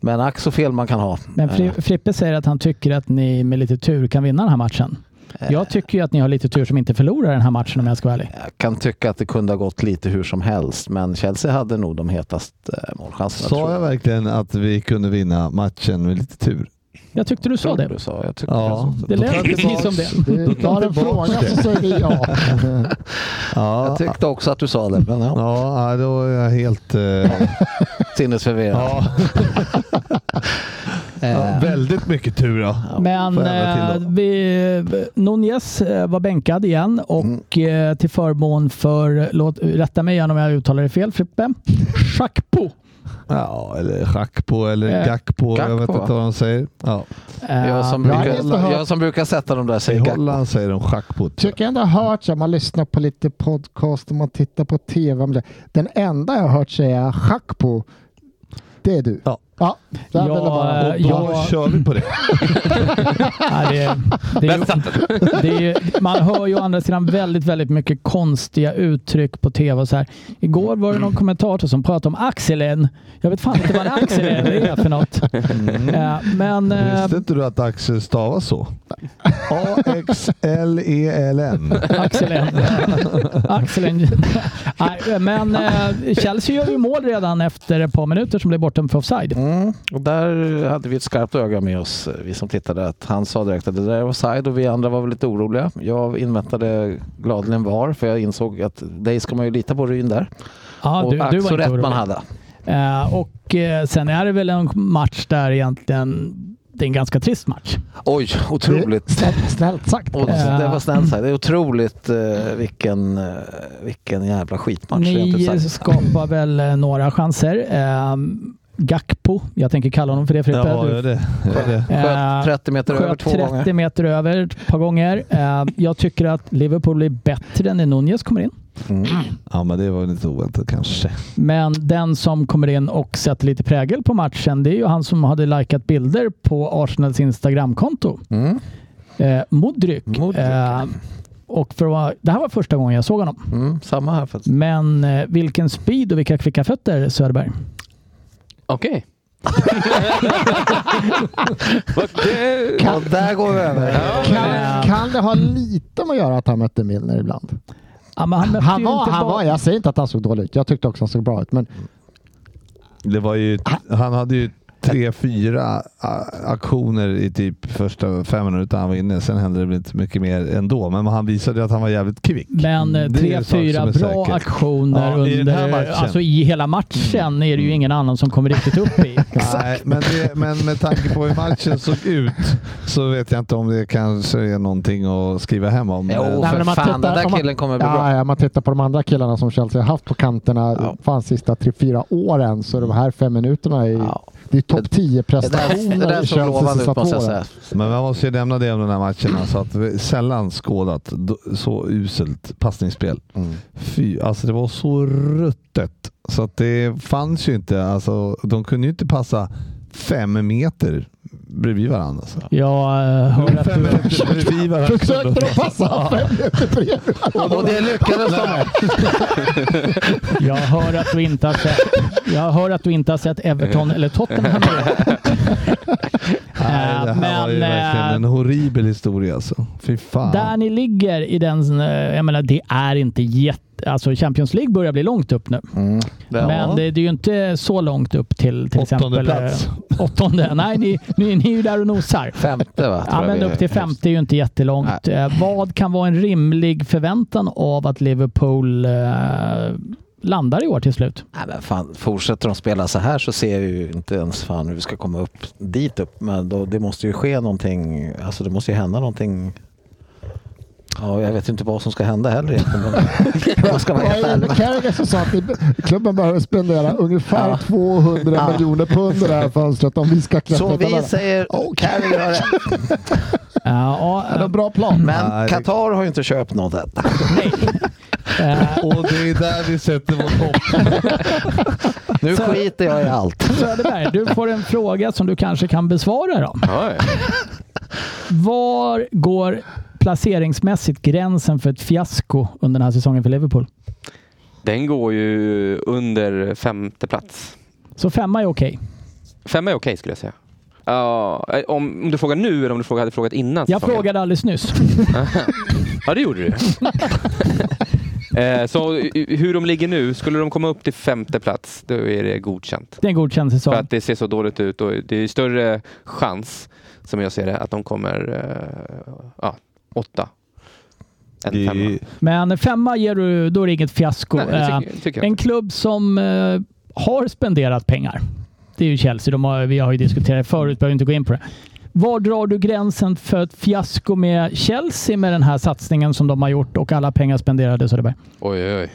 Speaker 5: Men ack så fel man kan ha.
Speaker 3: Men Fri,
Speaker 5: Eh,
Speaker 3: Frippe säger att han tycker att ni med lite tur kan vinna den här matchen.
Speaker 5: Eh,
Speaker 3: Jag tycker ju att ni har lite tur som inte förlorar den här matchen om jag ska vara ärlig.
Speaker 5: jag kan tycka att det kunde ha gått lite hur som helst, men Chelsea hade nog de hetaste eh, målchanserna. tror
Speaker 6: Sa jag verkligen att vi kunde vinna matchen med lite tur?
Speaker 3: Jag tyckte du sa
Speaker 5: Tror
Speaker 3: det.
Speaker 5: du sa. Jag tycker
Speaker 6: Ja.
Speaker 5: det.
Speaker 3: Det
Speaker 6: Då
Speaker 3: lät
Speaker 6: tar jag
Speaker 3: precis
Speaker 6: tillbaks-
Speaker 3: som det.
Speaker 4: Du tar en fråga så säger vi ja.
Speaker 6: Ja,
Speaker 5: Jag tyckte också att du sa det, men ja.
Speaker 6: ja, då är jag helt... Eh,
Speaker 5: sinnesförvirrad. Eh,
Speaker 6: ja. ja, väldigt mycket tur då.
Speaker 3: Men
Speaker 6: Får jag ändra till
Speaker 3: eh, vi, Nunez eh, var bänkad igen och
Speaker 6: Mm.
Speaker 3: eh, till förmån för, låt, rätta mig igen om jag uttalar det fel Frippe, Schakpo.
Speaker 6: Ja, eller schack på eller
Speaker 3: Eh,
Speaker 6: gack på. Jag vet
Speaker 5: gack på,
Speaker 6: inte vad de säger. Ja.
Speaker 3: Eh,
Speaker 5: Jag, som
Speaker 4: jag har
Speaker 5: brukar,
Speaker 4: inte hört-
Speaker 5: jag som brukar sätta de där
Speaker 6: I
Speaker 5: säger gack.
Speaker 6: Holland säger de schack på.
Speaker 4: Tycker jag ändå har hört så här, man lyssnar på lite podcast och man tittar på tv. Men det- Den enda jag har hört säga schack på, det är du.
Speaker 6: Ja.
Speaker 4: ja där
Speaker 3: Ja,
Speaker 4: vill jag bara.
Speaker 6: Och då
Speaker 3: Ja.
Speaker 6: kör vi på det.
Speaker 3: nej, det, det, är ju- det är ju, man hör ju å andra sidan väldigt, väldigt mycket konstiga uttryck på tv och så här. Igår var det någon kommentator som pratade om axeln. Jag vet fan inte vad en axel är för något.
Speaker 6: Mm.
Speaker 3: Eh, men eh,
Speaker 6: Visste inte du att Axel stavas så? E A-X-L-E-L-N.
Speaker 3: Axeln. Axeln. Nej, men eh, Chelsea gör ju mål redan efter ett par minuter som blev bortom för offside.
Speaker 5: Mm. Och där hade vi ett skarpt öga med oss, eh, vi som tittade. Att han sa direkt att det där var side och vi andra var väl lite oroliga. Jag inväntade gladeligen VAR för jag insåg att dig ska man ju lita på ryn där.
Speaker 3: Ja,
Speaker 5: och
Speaker 3: du,
Speaker 5: ack
Speaker 3: du
Speaker 5: så
Speaker 3: var inte
Speaker 5: rätt
Speaker 3: orolig.
Speaker 5: man hade.
Speaker 3: Eh, och eh, sen är det väl en match där egentligen det är en ganska trist match.
Speaker 5: Oj, otroligt.
Speaker 4: Snällt, snällt sagt.
Speaker 5: Och
Speaker 3: Ja.
Speaker 5: det var snällt sagt. Det är otroligt eh, vilken, eh, vilken jävla skitmatch. rent ut
Speaker 3: Ni
Speaker 5: sagt.
Speaker 3: skapar väl eh, några chanser. Eh, Gakpo, jag tänker kalla honom för det Frippe.
Speaker 6: Ja,
Speaker 3: Du-
Speaker 6: gör det. Gör det.
Speaker 3: eh,
Speaker 5: Sköt 30 meter över
Speaker 3: sköt
Speaker 5: två
Speaker 3: 30
Speaker 5: gånger.
Speaker 3: meter över ett par gånger. Eh, jag tycker att Liverpool blir bättre när Nunez kommer in.
Speaker 5: Mm.
Speaker 6: Ja, men det var lite oväntat kanske.
Speaker 3: Men den som kommer in och sätter lite prägel på matchen, det är ju han som hade likat bilder på Arsenals Instagramkonto.
Speaker 5: Mm.
Speaker 3: Eh, Modric.
Speaker 5: Modric.
Speaker 3: Eh, och för att, vara- det här var första gången jag såg honom.
Speaker 5: Mm, samma här faktiskt.
Speaker 3: Men eh, vilken speed och vilka kvicka fötter Söderberg.
Speaker 7: Okej. Vad- det-
Speaker 5: Och där går vi över.
Speaker 4: Kan, kan det ha lite med att göra att han mötte Milner ibland?
Speaker 3: Ja, men han mötte
Speaker 4: Han
Speaker 3: ju
Speaker 4: var,
Speaker 3: inte
Speaker 4: han
Speaker 3: bara-
Speaker 4: var, jag säger inte att han såg dålig ut. Jag tyckte också han såg bra ut. Men
Speaker 6: Det var ju, han hade ju tre, fyra a- aktioner i typ första fem minuter han var inne. Sen hände det väl inte mycket mer ändå. Men han visade ju att han var jävligt kvick.
Speaker 3: Men eh,
Speaker 6: Det är
Speaker 3: tre,
Speaker 6: en sak
Speaker 3: fyra
Speaker 6: som är
Speaker 3: bra
Speaker 6: säker.
Speaker 3: aktioner
Speaker 6: Ja, i den här
Speaker 3: under,
Speaker 6: matchen. Mm.
Speaker 3: alltså i hela matchen är det ju ingen annan som kommer riktigt upp i.
Speaker 6: Nej, men, det, men med tanke på hur matchen såg ut så vet jag inte om det kanske är någonting att skriva hem om.
Speaker 5: Jo,
Speaker 6: Eh,
Speaker 4: men
Speaker 5: för
Speaker 4: om man
Speaker 5: fan.
Speaker 4: tittar-
Speaker 5: Den
Speaker 4: om
Speaker 5: där
Speaker 4: man-
Speaker 5: killen kommer bli bra.
Speaker 4: ja, ja, man tittar på de andra killarna som Chelsea har haft på kanterna fan sista tre, fyra åren. Så de här fem minuterna är,
Speaker 5: Ja.
Speaker 4: det är topp 10
Speaker 5: Det där, det
Speaker 4: prestationer
Speaker 5: där
Speaker 4: i
Speaker 5: såg
Speaker 4: Chelsea
Speaker 5: lovande ut
Speaker 4: sista
Speaker 5: måste jag
Speaker 4: två åren.
Speaker 5: säga.
Speaker 6: Men man måste ju nämna det om den här matchen. Alltså att vi sällan skådat d- så uselt passningsspel.
Speaker 5: Mm.
Speaker 6: Fy, alltså det var så ruttet. Så att det fanns ju inte. Alltså, de kunde ju inte passa fem meter bredvid varandra. Alltså.
Speaker 3: Jag eh, hör att
Speaker 6: Fem
Speaker 3: du...
Speaker 6: meter bredvid varandra.
Speaker 4: Försökte de passa fem meter bredvid?
Speaker 5: Och det lyckades de
Speaker 3: Jag hör att du inte har sett, jag hör att du inte har sett Everton eller Tottenham.
Speaker 6: Nej, det här var ju
Speaker 3: Men, eh,
Speaker 6: verkligen en horribel historia alltså. Fy fan.
Speaker 3: Där ni ligger i den, eh, jag menar det är inte jätte, alltså Champions League börjar bli långt upp nu. Men det, det är ju inte så långt upp till till
Speaker 6: Åttonde
Speaker 3: exempel
Speaker 6: plats.
Speaker 3: eh, åttonde. Nej, ni, ni, ni är ju där och nosar.
Speaker 5: Femte va? tror
Speaker 3: Ja,
Speaker 5: jag
Speaker 3: men
Speaker 5: vi-
Speaker 3: upp till 50 är ju inte jättelångt. Eh, Vad kan vara en rimlig förväntan av att Liverpool eh, landar i år till slut?
Speaker 5: Nej, men fan, fortsätter de spela så här så ser jag ju inte ens fan hur vi ska komma upp dit upp. Men då, det måste ju ske någonting. Alltså det måste ju hända någonting Ja, jag vet inte vad som ska hända heller egentligen. om man ska vara helt
Speaker 4: Nej,
Speaker 5: ärlig.
Speaker 4: Carragher som sa att det- klubben behöver spendera ungefär 200
Speaker 5: Ja.
Speaker 4: miljoner pund i det här fönstret om vi ska klättra
Speaker 5: Så
Speaker 4: upp
Speaker 5: vi
Speaker 4: tabellen.
Speaker 5: säger Carragher har rätt.
Speaker 3: Ja,
Speaker 4: Ja, det är en
Speaker 3: och,
Speaker 4: bra plan.
Speaker 5: Men
Speaker 6: Nej, det-
Speaker 5: Qatar har ju inte köpt något än.
Speaker 3: eh,
Speaker 6: Och det är där vi sätter vårt hopp.
Speaker 5: Nu
Speaker 3: Så-
Speaker 5: skiter jag i allt.
Speaker 3: Söderberg, du får en fråga som du kanske kan besvara då.
Speaker 7: Ja,
Speaker 3: Var går placeringsmässigt gränsen för ett fiasko under den här säsongen för Liverpool?
Speaker 7: Den går ju under femte plats.
Speaker 3: Så femma är okej.
Speaker 7: Femma är okej skulle jag säga. Ja, eh, om, om du frågar nu eller om du frågar, hade frågat innan
Speaker 3: Jag
Speaker 7: säsongen?
Speaker 3: frågade alldeles nyss.
Speaker 7: Ja, det gjorde du. eh, så i- i- hur de ligger nu, skulle de komma upp till femte plats, då är det godkänt.
Speaker 3: Det är en godkänd säsong.
Speaker 7: För att det ser så dåligt ut och det är större chans, som jag ser det, att de kommer eh, ja, åtta än femma.
Speaker 3: Men femma ger du, då är det inget fiasko.
Speaker 7: Nej, det
Speaker 3: Eh,
Speaker 7: tycker, det tycker jag.
Speaker 3: En klubb som eh, har spenderat pengar, det är ju Chelsea. De har, vi har ju diskuterat det förut, behöver inte gå in på det. Var drar du gränsen för ett fiasko med Chelsea med den här satsningen som de har gjort och alla pengar spenderade? Söderberg?
Speaker 7: Oj, oj, oj.
Speaker 3: Är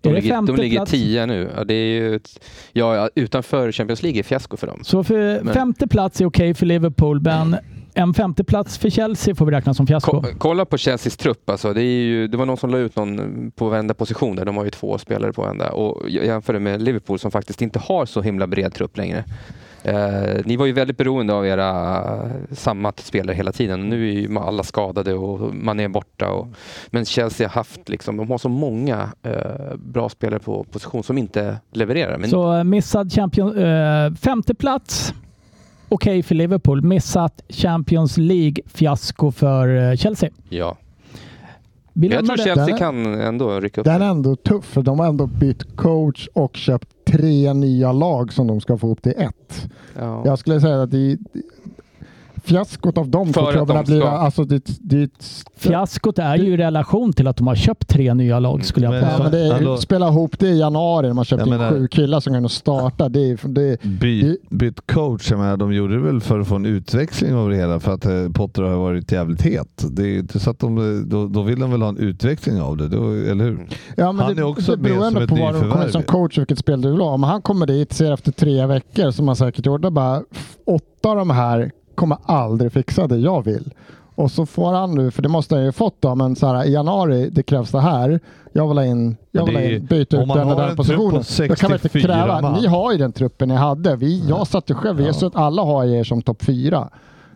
Speaker 7: De
Speaker 3: det
Speaker 7: ligger,
Speaker 3: femte
Speaker 7: de ligger
Speaker 3: plats?
Speaker 7: tia nu. Ja, det är ju ett, ja, ja, utanför Champions League är fiasko för dem.
Speaker 3: Så för
Speaker 7: Men-
Speaker 3: femte plats är okej för Liverpool, men en femte plats för Chelsea får vi räkna som fiasko.
Speaker 7: Ko- Kolla på Chelseas trupp. Alltså, det, är ju, det var någon som la ut någon på varenda position där. De har ju två spelare på varenda. Och jag jämför det med Liverpool som faktiskt inte har så himla bred trupp längre. Eh, ni var ju väldigt beroende av era eh, samma spelare hela tiden. Nu är ju ma- alla skadade och man är borta. Och, men Chelsea har haft liksom, de har så många eh, bra spelare på position som inte levererar. Men
Speaker 3: Så eh, missad champion, eh, femte plats, okej för Liverpool. Missat Champions League-fiasko för eh, Chelsea.
Speaker 7: ja,
Speaker 3: Vi
Speaker 7: jag
Speaker 3: lämnar
Speaker 7: tror
Speaker 3: det.
Speaker 7: Chelsea
Speaker 4: Där-
Speaker 7: kan ändå rycka upp.
Speaker 4: Den är ändå tuff för de har ändå bytt coach och köpt tre nya lag som de ska få upp till ett.
Speaker 7: Ja.
Speaker 4: Jag skulle säga att det är fiaskot av de
Speaker 7: För
Speaker 4: två
Speaker 7: att
Speaker 4: klubbarna
Speaker 7: de ska-
Speaker 4: blir alltså det, det, det,
Speaker 3: Fiaskot är ju i relation till att de har köpt tre nya lag skulle jag
Speaker 6: Men-
Speaker 4: ja,
Speaker 3: påstå.
Speaker 4: Mm, men det är,
Speaker 6: Hallå.
Speaker 4: spela ihop det i januari när man köpte
Speaker 6: Jag
Speaker 4: in
Speaker 6: menar-
Speaker 4: sju killar som kan starta. Det är, det är,
Speaker 6: Byt, byt coach. Jag menar, de gjorde det väl för att få en utväxling av det hela för att eh, Potter har varit jävligt het. Det är ju inte så att de, eh, då, då vill de väl ha en utveckling av det, då, eller hur?
Speaker 4: Ja, men
Speaker 6: Han
Speaker 4: det,
Speaker 6: är också
Speaker 4: det beror
Speaker 6: med
Speaker 4: ändå
Speaker 6: som ett
Speaker 4: på vad du kommer
Speaker 6: nyförvärv.
Speaker 4: som coach och vilket spel du vill ha. Om han kommer dit, ser efter tre veckor som han säkert gjorde, bara "F- åtta av de här kommer aldrig fixa det jag vill. Och så får han nu, för det måste han ju fått då, men så här, i januari, det krävs det här. Jag vill ha in, jag vill
Speaker 6: Men
Speaker 4: ha
Speaker 6: det är
Speaker 4: in,
Speaker 6: ju-
Speaker 4: byta
Speaker 6: om
Speaker 4: ut
Speaker 6: man
Speaker 4: den och
Speaker 6: har
Speaker 4: den
Speaker 6: en trupp
Speaker 4: positionen.
Speaker 6: på
Speaker 4: Då kan man inte
Speaker 6: 64
Speaker 4: kräva,
Speaker 6: man.
Speaker 4: ni har ju den truppen ni hade. Vi, jag satt ju själv, jag sa att alla har er som topp fyra.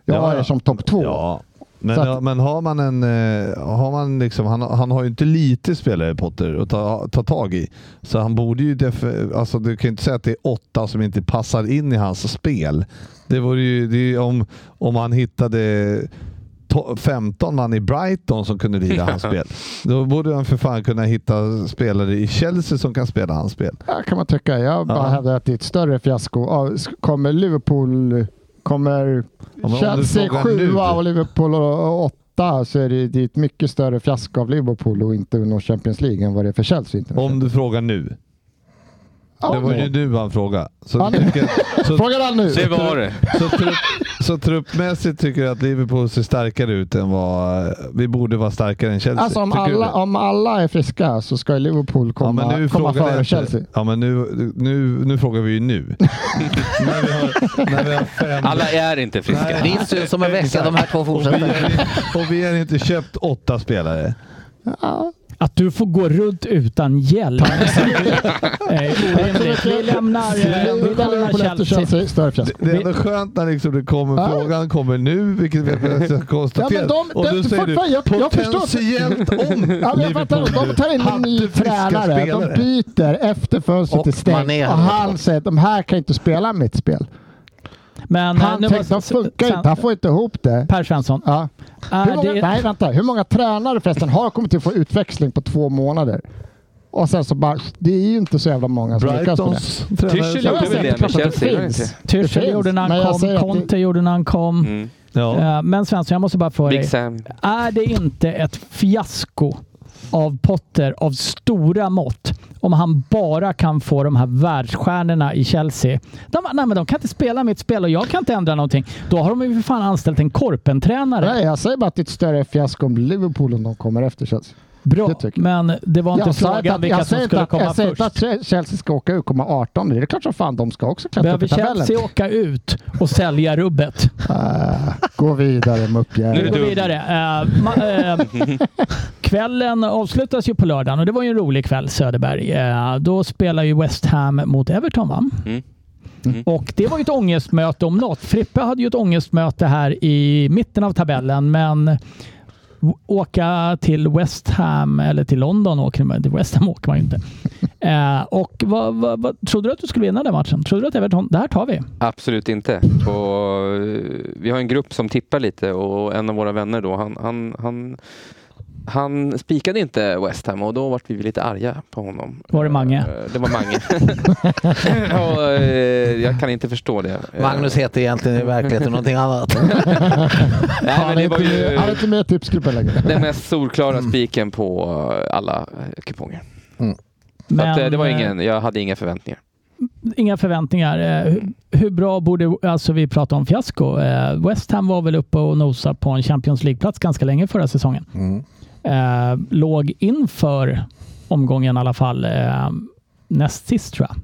Speaker 4: Jag
Speaker 6: Ja,
Speaker 4: har er
Speaker 6: ja.
Speaker 4: som topp två.
Speaker 6: Ja. Men,
Speaker 4: Så att-
Speaker 6: ja, men har man en... eh, Har man liksom, han, han har ju inte lite spelare Potter att ta, ta tag i. Så han borde ju... Def, alltså, du kan ju inte säga att det är åtta som inte passar in i hans spel. Det vore ju... Det är ju om, om han hittade to- 15 man i Brighton som kunde lira hans spel. Då borde han för fan kunna hitta spelare i Chelsea som kan spela hans spel.
Speaker 4: Ja, kan man tycka. Jag bara
Speaker 6: Ja.
Speaker 4: hävdar att det är ett större fiasko. Ja, s- Kommer Liverpool, kommer
Speaker 6: men om du
Speaker 4: Chelsea
Speaker 6: frågar
Speaker 4: sjua
Speaker 6: nu.
Speaker 4: och Liverpool och- och åtta så är det, det är ett mycket större fiasko av Liverpool och inte nå Champions League än vad det är för Chelsea. Inte nå
Speaker 6: Om du frågar nu.
Speaker 4: Champions-
Speaker 6: Det var
Speaker 4: Ja,
Speaker 6: ju nu han frågade. Så,
Speaker 4: Ja, nu.
Speaker 6: tycker- så
Speaker 4: Frågar han nu?
Speaker 7: Det var det.
Speaker 6: Så, trupp, så truppmässigt tycker jag att Liverpool ser starkare ut än vad... Vi borde vara starkare än Chelsea.
Speaker 4: Alltså om
Speaker 6: Tycker du
Speaker 4: alla,
Speaker 6: det?
Speaker 4: om alla är friska så ska ju Liverpool komma, komma
Speaker 6: frågar jag
Speaker 4: före
Speaker 6: inte-
Speaker 4: Chelsea.
Speaker 6: Ja, men nu, nu, nu frågar vi ju nu. när, vi har, när vi har fem...
Speaker 7: Alla är inte friska.
Speaker 5: Det är inte som en vecka de här två
Speaker 6: Och vi,
Speaker 5: fortsätter.
Speaker 6: har, i- och vi har inte köpt åtta spelare.
Speaker 3: Att du får gå runt utan hjälp. Nej, orimligt. Vi lämnar, eh, vi
Speaker 4: Liverpool efter
Speaker 3: lämnar Chelsea.
Speaker 4: Chelsea, större fiasko.
Speaker 6: Det är ändå skönt när liksom det kommer,
Speaker 4: Ja.
Speaker 6: frågan kommer nu, vilket vi har konstaterat.
Speaker 4: Ja, men de-
Speaker 6: och
Speaker 4: de-
Speaker 6: då säger du
Speaker 4: fortfarande, jag- jag förstår.
Speaker 6: potentiellt om
Speaker 4: Ja, men jag fattar,
Speaker 6: Liverpool
Speaker 4: de tar in en
Speaker 6: hade
Speaker 4: ny
Speaker 6: friska
Speaker 4: tränare.
Speaker 6: spelare.
Speaker 4: De byter efter fönstret
Speaker 5: Och
Speaker 4: är stängt.
Speaker 5: Mané
Speaker 4: Och
Speaker 5: hade
Speaker 4: han
Speaker 5: gått.
Speaker 4: säger att de här kan inte spela mitt spel.
Speaker 3: Men, eh,
Speaker 4: Han
Speaker 3: nu
Speaker 4: tänkte,
Speaker 3: var-
Speaker 4: de funkar inte. Han får inte ihop det.
Speaker 3: Per Svensson.
Speaker 4: Ja. Hur
Speaker 3: Är
Speaker 4: många,
Speaker 3: det,
Speaker 4: Nej, vänta. Hur många tränare förresten har kommit till att få utväxling på två månader? Och sen så bara, det är ju inte så jävla många som lyckas med det.
Speaker 6: Brightons tränare.
Speaker 7: Tyschel
Speaker 4: Jag
Speaker 7: gjorde
Speaker 4: säger
Speaker 7: väl
Speaker 4: att
Speaker 7: det med
Speaker 4: klart att
Speaker 7: Chelsea? gjorde han
Speaker 4: finns.
Speaker 7: inte?
Speaker 4: Det
Speaker 3: Tyrsel
Speaker 4: finns,
Speaker 3: gjorde när
Speaker 4: men jag
Speaker 3: han
Speaker 4: säger
Speaker 3: kom,
Speaker 4: att
Speaker 3: Conte gjorde när han kom.
Speaker 7: Mm.
Speaker 6: Ja.
Speaker 3: Eh, Men Svensson, jag måste bara fråga dig.
Speaker 7: Big Sam.
Speaker 3: Är det inte ett fiasko av Potter av stora mått om han bara kan få de här världsstjärnorna i Chelsea. De, bara, nej, men de kan inte spela mitt spel och jag kan inte ändra någonting. Då har de ju för fan anställt en korpentränare.
Speaker 4: Nej, jag säger bara att det är ett större fiasko om Liverpool om de kommer efter Chelsea.
Speaker 3: Bra,
Speaker 4: det tycker
Speaker 3: men det var inte
Speaker 4: Jag sa inte
Speaker 3: frågan
Speaker 4: att-
Speaker 3: vilka
Speaker 4: jag
Speaker 3: som
Speaker 4: säger
Speaker 3: skulle
Speaker 4: inte att-
Speaker 3: komma
Speaker 4: jag säger inte
Speaker 3: först.
Speaker 4: att Tre- Chelsea ska åka ur och komma 18. Det är klart som fan de ska också klättra upp
Speaker 3: Behöver
Speaker 4: i tabellen.
Speaker 3: Chelsea åka ut och sälja rubbet?
Speaker 4: Ah, gå vidare
Speaker 7: Nu är
Speaker 3: Vi
Speaker 7: det
Speaker 4: muppjävel.
Speaker 3: går
Speaker 7: dum.
Speaker 3: vidare. Eh, ma- eh, kvällen avslutas ju på lördagen och det var ju en rolig kväll Söderberg. Eh, då spelar ju West Ham mot Everton va?
Speaker 7: Mm.
Speaker 3: Och det var ju ett ångestmöte om något. Frippe hade ju ett ångestmöte här i mitten av tabellen, men w- åka till West Ham, eller till London åker man till West Ham åker man ju inte. Eh, och vad, vad, vad, trodde du att du skulle vinna den matchen? Trodde du att Everton, det här tar vi?
Speaker 7: Absolut inte. Och, eh, vi har en grupp som tippar lite och en av våra vänner då, han, han, han, han spikade inte West Ham och då vart vi lite arga på honom.
Speaker 3: Var det Mange?
Speaker 7: Eh, Det var Mange. och, eh, jag kan inte förstå det. Eh,
Speaker 5: Magnus heter egentligen i verkligheten någonting annat.
Speaker 7: nej, men
Speaker 4: Han är
Speaker 7: det var
Speaker 4: inte med-
Speaker 7: ju
Speaker 4: han är inte med i tipsgruppen längre.
Speaker 7: den mest solklara spiken på eh, alla eh, kuponger. Så att, eh, det var ingen, jag hade inga förväntningar.
Speaker 3: inga förväntningar. Eh, hur, hur bra borde, alltså vi pratar om fiasko. Eh, West Ham var väl uppe och nosade på en Champions League-plats ganska länge förra säsongen.
Speaker 7: Mm.
Speaker 3: Eh, låg inför omgången i alla fall eh, näst sist tror jag.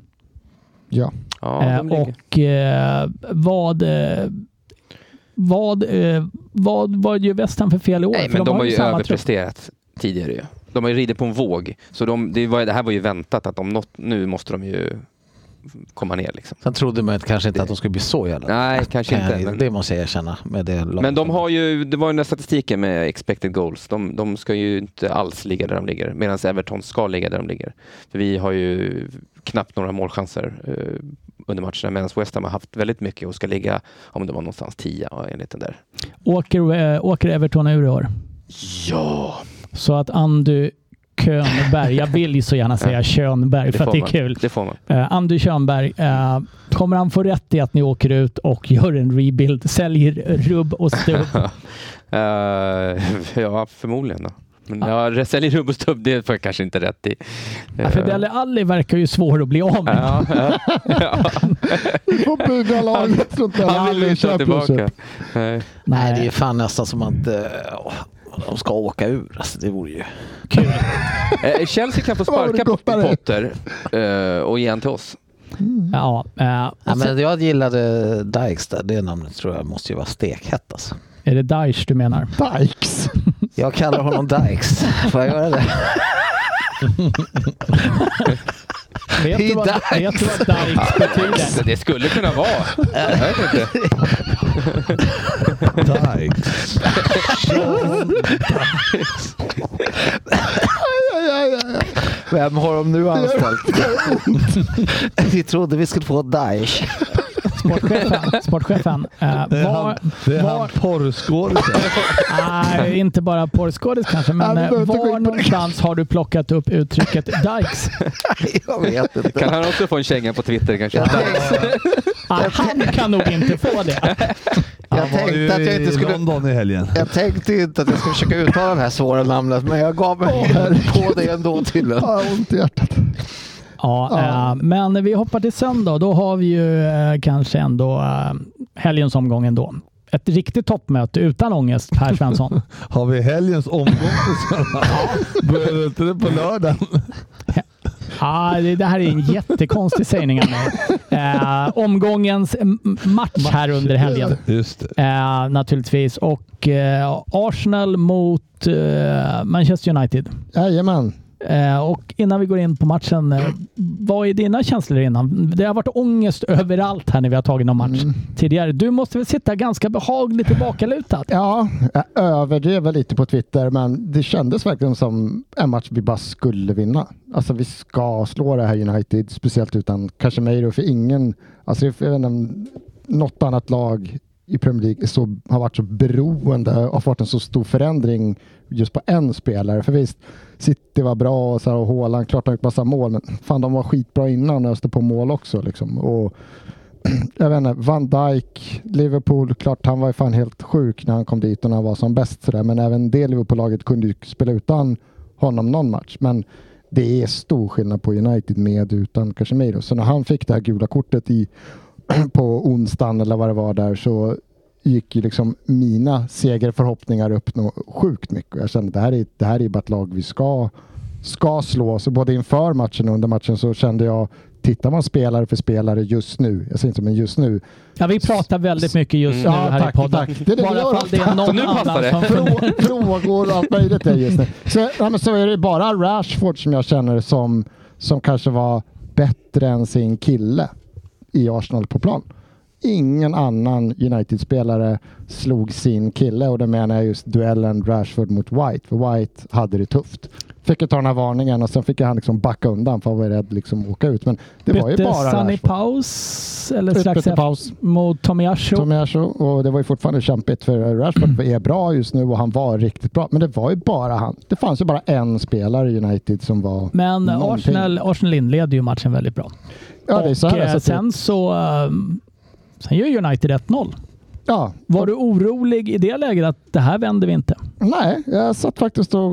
Speaker 4: Ja.
Speaker 7: Ja,
Speaker 3: Eh,
Speaker 7: de ligger-
Speaker 3: och eh, vad, eh, vad, eh, vad, vad gör West Ham för fel i år?
Speaker 7: Nej,
Speaker 3: för
Speaker 7: men de, har ju
Speaker 3: samma trupp.
Speaker 7: överpresterat tidigare ju. De har ju ridit på en våg. Så de, det, var, det här var ju väntat att de nått, nu måste de ju komma ner liksom.
Speaker 5: Sen trodde man kanske inte att de skulle bli så jävla
Speaker 7: Nej, kanske
Speaker 5: Kan jag-
Speaker 7: inte.
Speaker 5: Det
Speaker 7: Men,
Speaker 5: måste jag erkänna. Med det laget.
Speaker 7: men de har ju, det var ju den där statistiken med expected goals. De, de ska ju inte alls ligga där de ligger. Medan Everton ska ligga där de ligger. För vi har ju knappt några målchanser eh, under matcherna. Medan West Ham har haft väldigt mycket och ska ligga, om det var någonstans 10 enligt den där.
Speaker 3: åker, eh, åker Everton ur i år.
Speaker 7: Ja!
Speaker 3: Så att Andy Könberg, jag vill ju så gärna säga Könberg för att det är
Speaker 7: man.
Speaker 3: kul.
Speaker 7: Det får man.
Speaker 3: Eh, Andy Könberg, eh, kommer han få rätt i att ni åker ut och gör en rebuild, säljer rubb och stubb?
Speaker 7: Eh, ja, förmodligen. Då. Men ja. Ja, sälj rubb och stubb, det får jag kanske inte rätt i. Eh,
Speaker 3: Ja, För Dele Alli verkar ju svår att bli av med.
Speaker 7: Ja, ja, ja.
Speaker 4: Vi får bygga laget runt den
Speaker 7: Han vill ju inte ha tillbaka. Nej.
Speaker 5: Nej, det
Speaker 3: Nej,
Speaker 5: är fan nästan som att eh, åh, de ska åka ur. Alltså, det vore ju...
Speaker 3: kul.
Speaker 7: Eh, Chelsea kan få
Speaker 4: Vad var det
Speaker 7: sparka
Speaker 4: gottare?
Speaker 7: Potter eh, och ge en till oss.
Speaker 3: Ja, eh,
Speaker 5: Nej,
Speaker 3: och sen,
Speaker 5: men jag gillade Dykes där. Det namnet tror jag måste ju vara stekhett. Alltså.
Speaker 3: är det Daesh du menar?
Speaker 4: Dykes.
Speaker 5: Jag kallar honom Dykes. Får jag göra det?
Speaker 3: Vet du
Speaker 5: He
Speaker 3: vad,
Speaker 5: dies.
Speaker 3: vet du vad Daesh betyder?
Speaker 7: Det skulle kunna vara. Jag vet inte.
Speaker 6: Dykes.
Speaker 5: Vem har de nu anställt? vi trodde vi skulle få Dyke.
Speaker 3: Sportchefen, sportchefen eh,
Speaker 6: Det är
Speaker 3: var,
Speaker 6: han, det är
Speaker 3: var,
Speaker 6: han porrskådisen.
Speaker 3: nej, inte bara porrskådis kanske, men
Speaker 4: Nej,
Speaker 3: eh,
Speaker 4: vi behöver inte gå
Speaker 3: var
Speaker 4: in på det.
Speaker 3: någonstans har du plockat upp uttrycket Dykes?
Speaker 5: jag vet inte.
Speaker 7: Kan han också få en känga på Twitter kanske?
Speaker 5: Jag,
Speaker 7: Ja.
Speaker 5: tänkte,
Speaker 3: Ah, han kan nog inte få det.
Speaker 5: jag
Speaker 6: var ju
Speaker 5: tänkte att jag inte
Speaker 6: i
Speaker 5: skulle...
Speaker 6: London i helgen.
Speaker 5: Jag tänkte inte att jag skulle försöka uttala det här svåra namnet, men jag gav mig på det ändå tydligen.
Speaker 4: Ah, ont i hjärtat.
Speaker 3: Ja,
Speaker 4: Ja.
Speaker 3: eh, men vi hoppar till söndag. Då har vi ju eh, kanske ändå eh, helgens omgång ändå. Ett riktigt toppmöte utan ångest, Per Svensson.
Speaker 6: Har vi helgens omgång på söndag? Börjar inte det på lördagen?
Speaker 3: ah, det, det här är en jättekonstig sägning av mig. Eh, omgångens m- match här under helgen.
Speaker 6: Just det.
Speaker 3: Eh, naturligtvis. Och eh, Arsenal mot eh, Manchester United.
Speaker 4: Jajamän.
Speaker 3: Eh, och innan vi går in på matchen, eh, vad är dina känslor innan? Det har varit ångest överallt här när vi har tagit någon match
Speaker 4: Mm.
Speaker 3: tidigare. Du måste väl sitta ganska behagligt tillbakalutad?
Speaker 4: Ja, jag överdrev väl lite på Twitter, men det kändes verkligen som en match vi bara skulle vinna. Alltså vi ska slå det här United, speciellt utan Casemiro, för ingen, alltså jag vet inte, om något annat lag i Premier League är så, har varit så beroende och fått en så stor förändring just på en spelare. För visst, City var bra och, så här, och Haaland, klart de har gjort massa mål, men fan de var skitbra innan och öste på mål också. Liksom. Och jag vet inte, Van Dijk, Liverpool, klart han var ju fan helt sjuk när han kom dit och när han var som bäst. sådär. Men även det Liverpool-laget kunde ju spela utan honom någon match. Men det är stor skillnad på United med utan Casemiro. Så när han fick det här gula kortet i, på onsdagen eller vad det var där så gick ju liksom mina segerförhoppningar upp nå sjukt mycket. Jag kände att det här är, det här är bara ett lag vi ska, ska slå. Så både inför matchen och under matchen så kände jag, tittar man spelare för spelare just nu, jag säger inte men just nu,
Speaker 3: Ja, vi pratar väldigt mycket just nu
Speaker 4: Mm. Ja,
Speaker 3: här i
Speaker 4: tack,
Speaker 3: podden.
Speaker 4: tack. Det är det vi gör
Speaker 3: Bara för att det
Speaker 4: ofta.
Speaker 3: är någon
Speaker 7: Så nu passar
Speaker 3: annan
Speaker 7: det.
Speaker 3: som
Speaker 4: Frå- frågor och allt möjligt är just nu. Så, ja, men så är det bara Rashford som jag känner som, som kanske var bättre än sin kille i Arsenal på plan. Ingen annan United-spelare slog sin kille och det menar jag just duellen Rashford mot White. För White hade det tufft. Fick ju ta den här varningen och sen fick han liksom backa undan för han var rädd liksom att åka ut. Men det var ju
Speaker 3: Bytte
Speaker 4: bara
Speaker 3: Sunny
Speaker 4: Rashford.
Speaker 3: Paus, eller
Speaker 4: Ut-
Speaker 3: strax
Speaker 4: bytte
Speaker 3: efter,
Speaker 4: paus.
Speaker 3: mot Tomiasho.
Speaker 4: Tomiasho och det var ju fortfarande kämpigt för Rashford är bra just nu och han var riktigt bra. Men det var ju bara han. Det fanns ju bara en spelare i United som var...
Speaker 3: Men eh,
Speaker 4: Någonting.
Speaker 3: Arsenal, Arsenal inleder ju matchen väldigt bra.
Speaker 4: Ja, det är så här.
Speaker 3: och, eh,
Speaker 4: alltså, att
Speaker 3: sen så... eh, Sen gör United 1-0.
Speaker 4: det- ja,
Speaker 3: Var du orolig i det läget att det här vänder vi inte?
Speaker 4: nej, jag satt faktiskt och...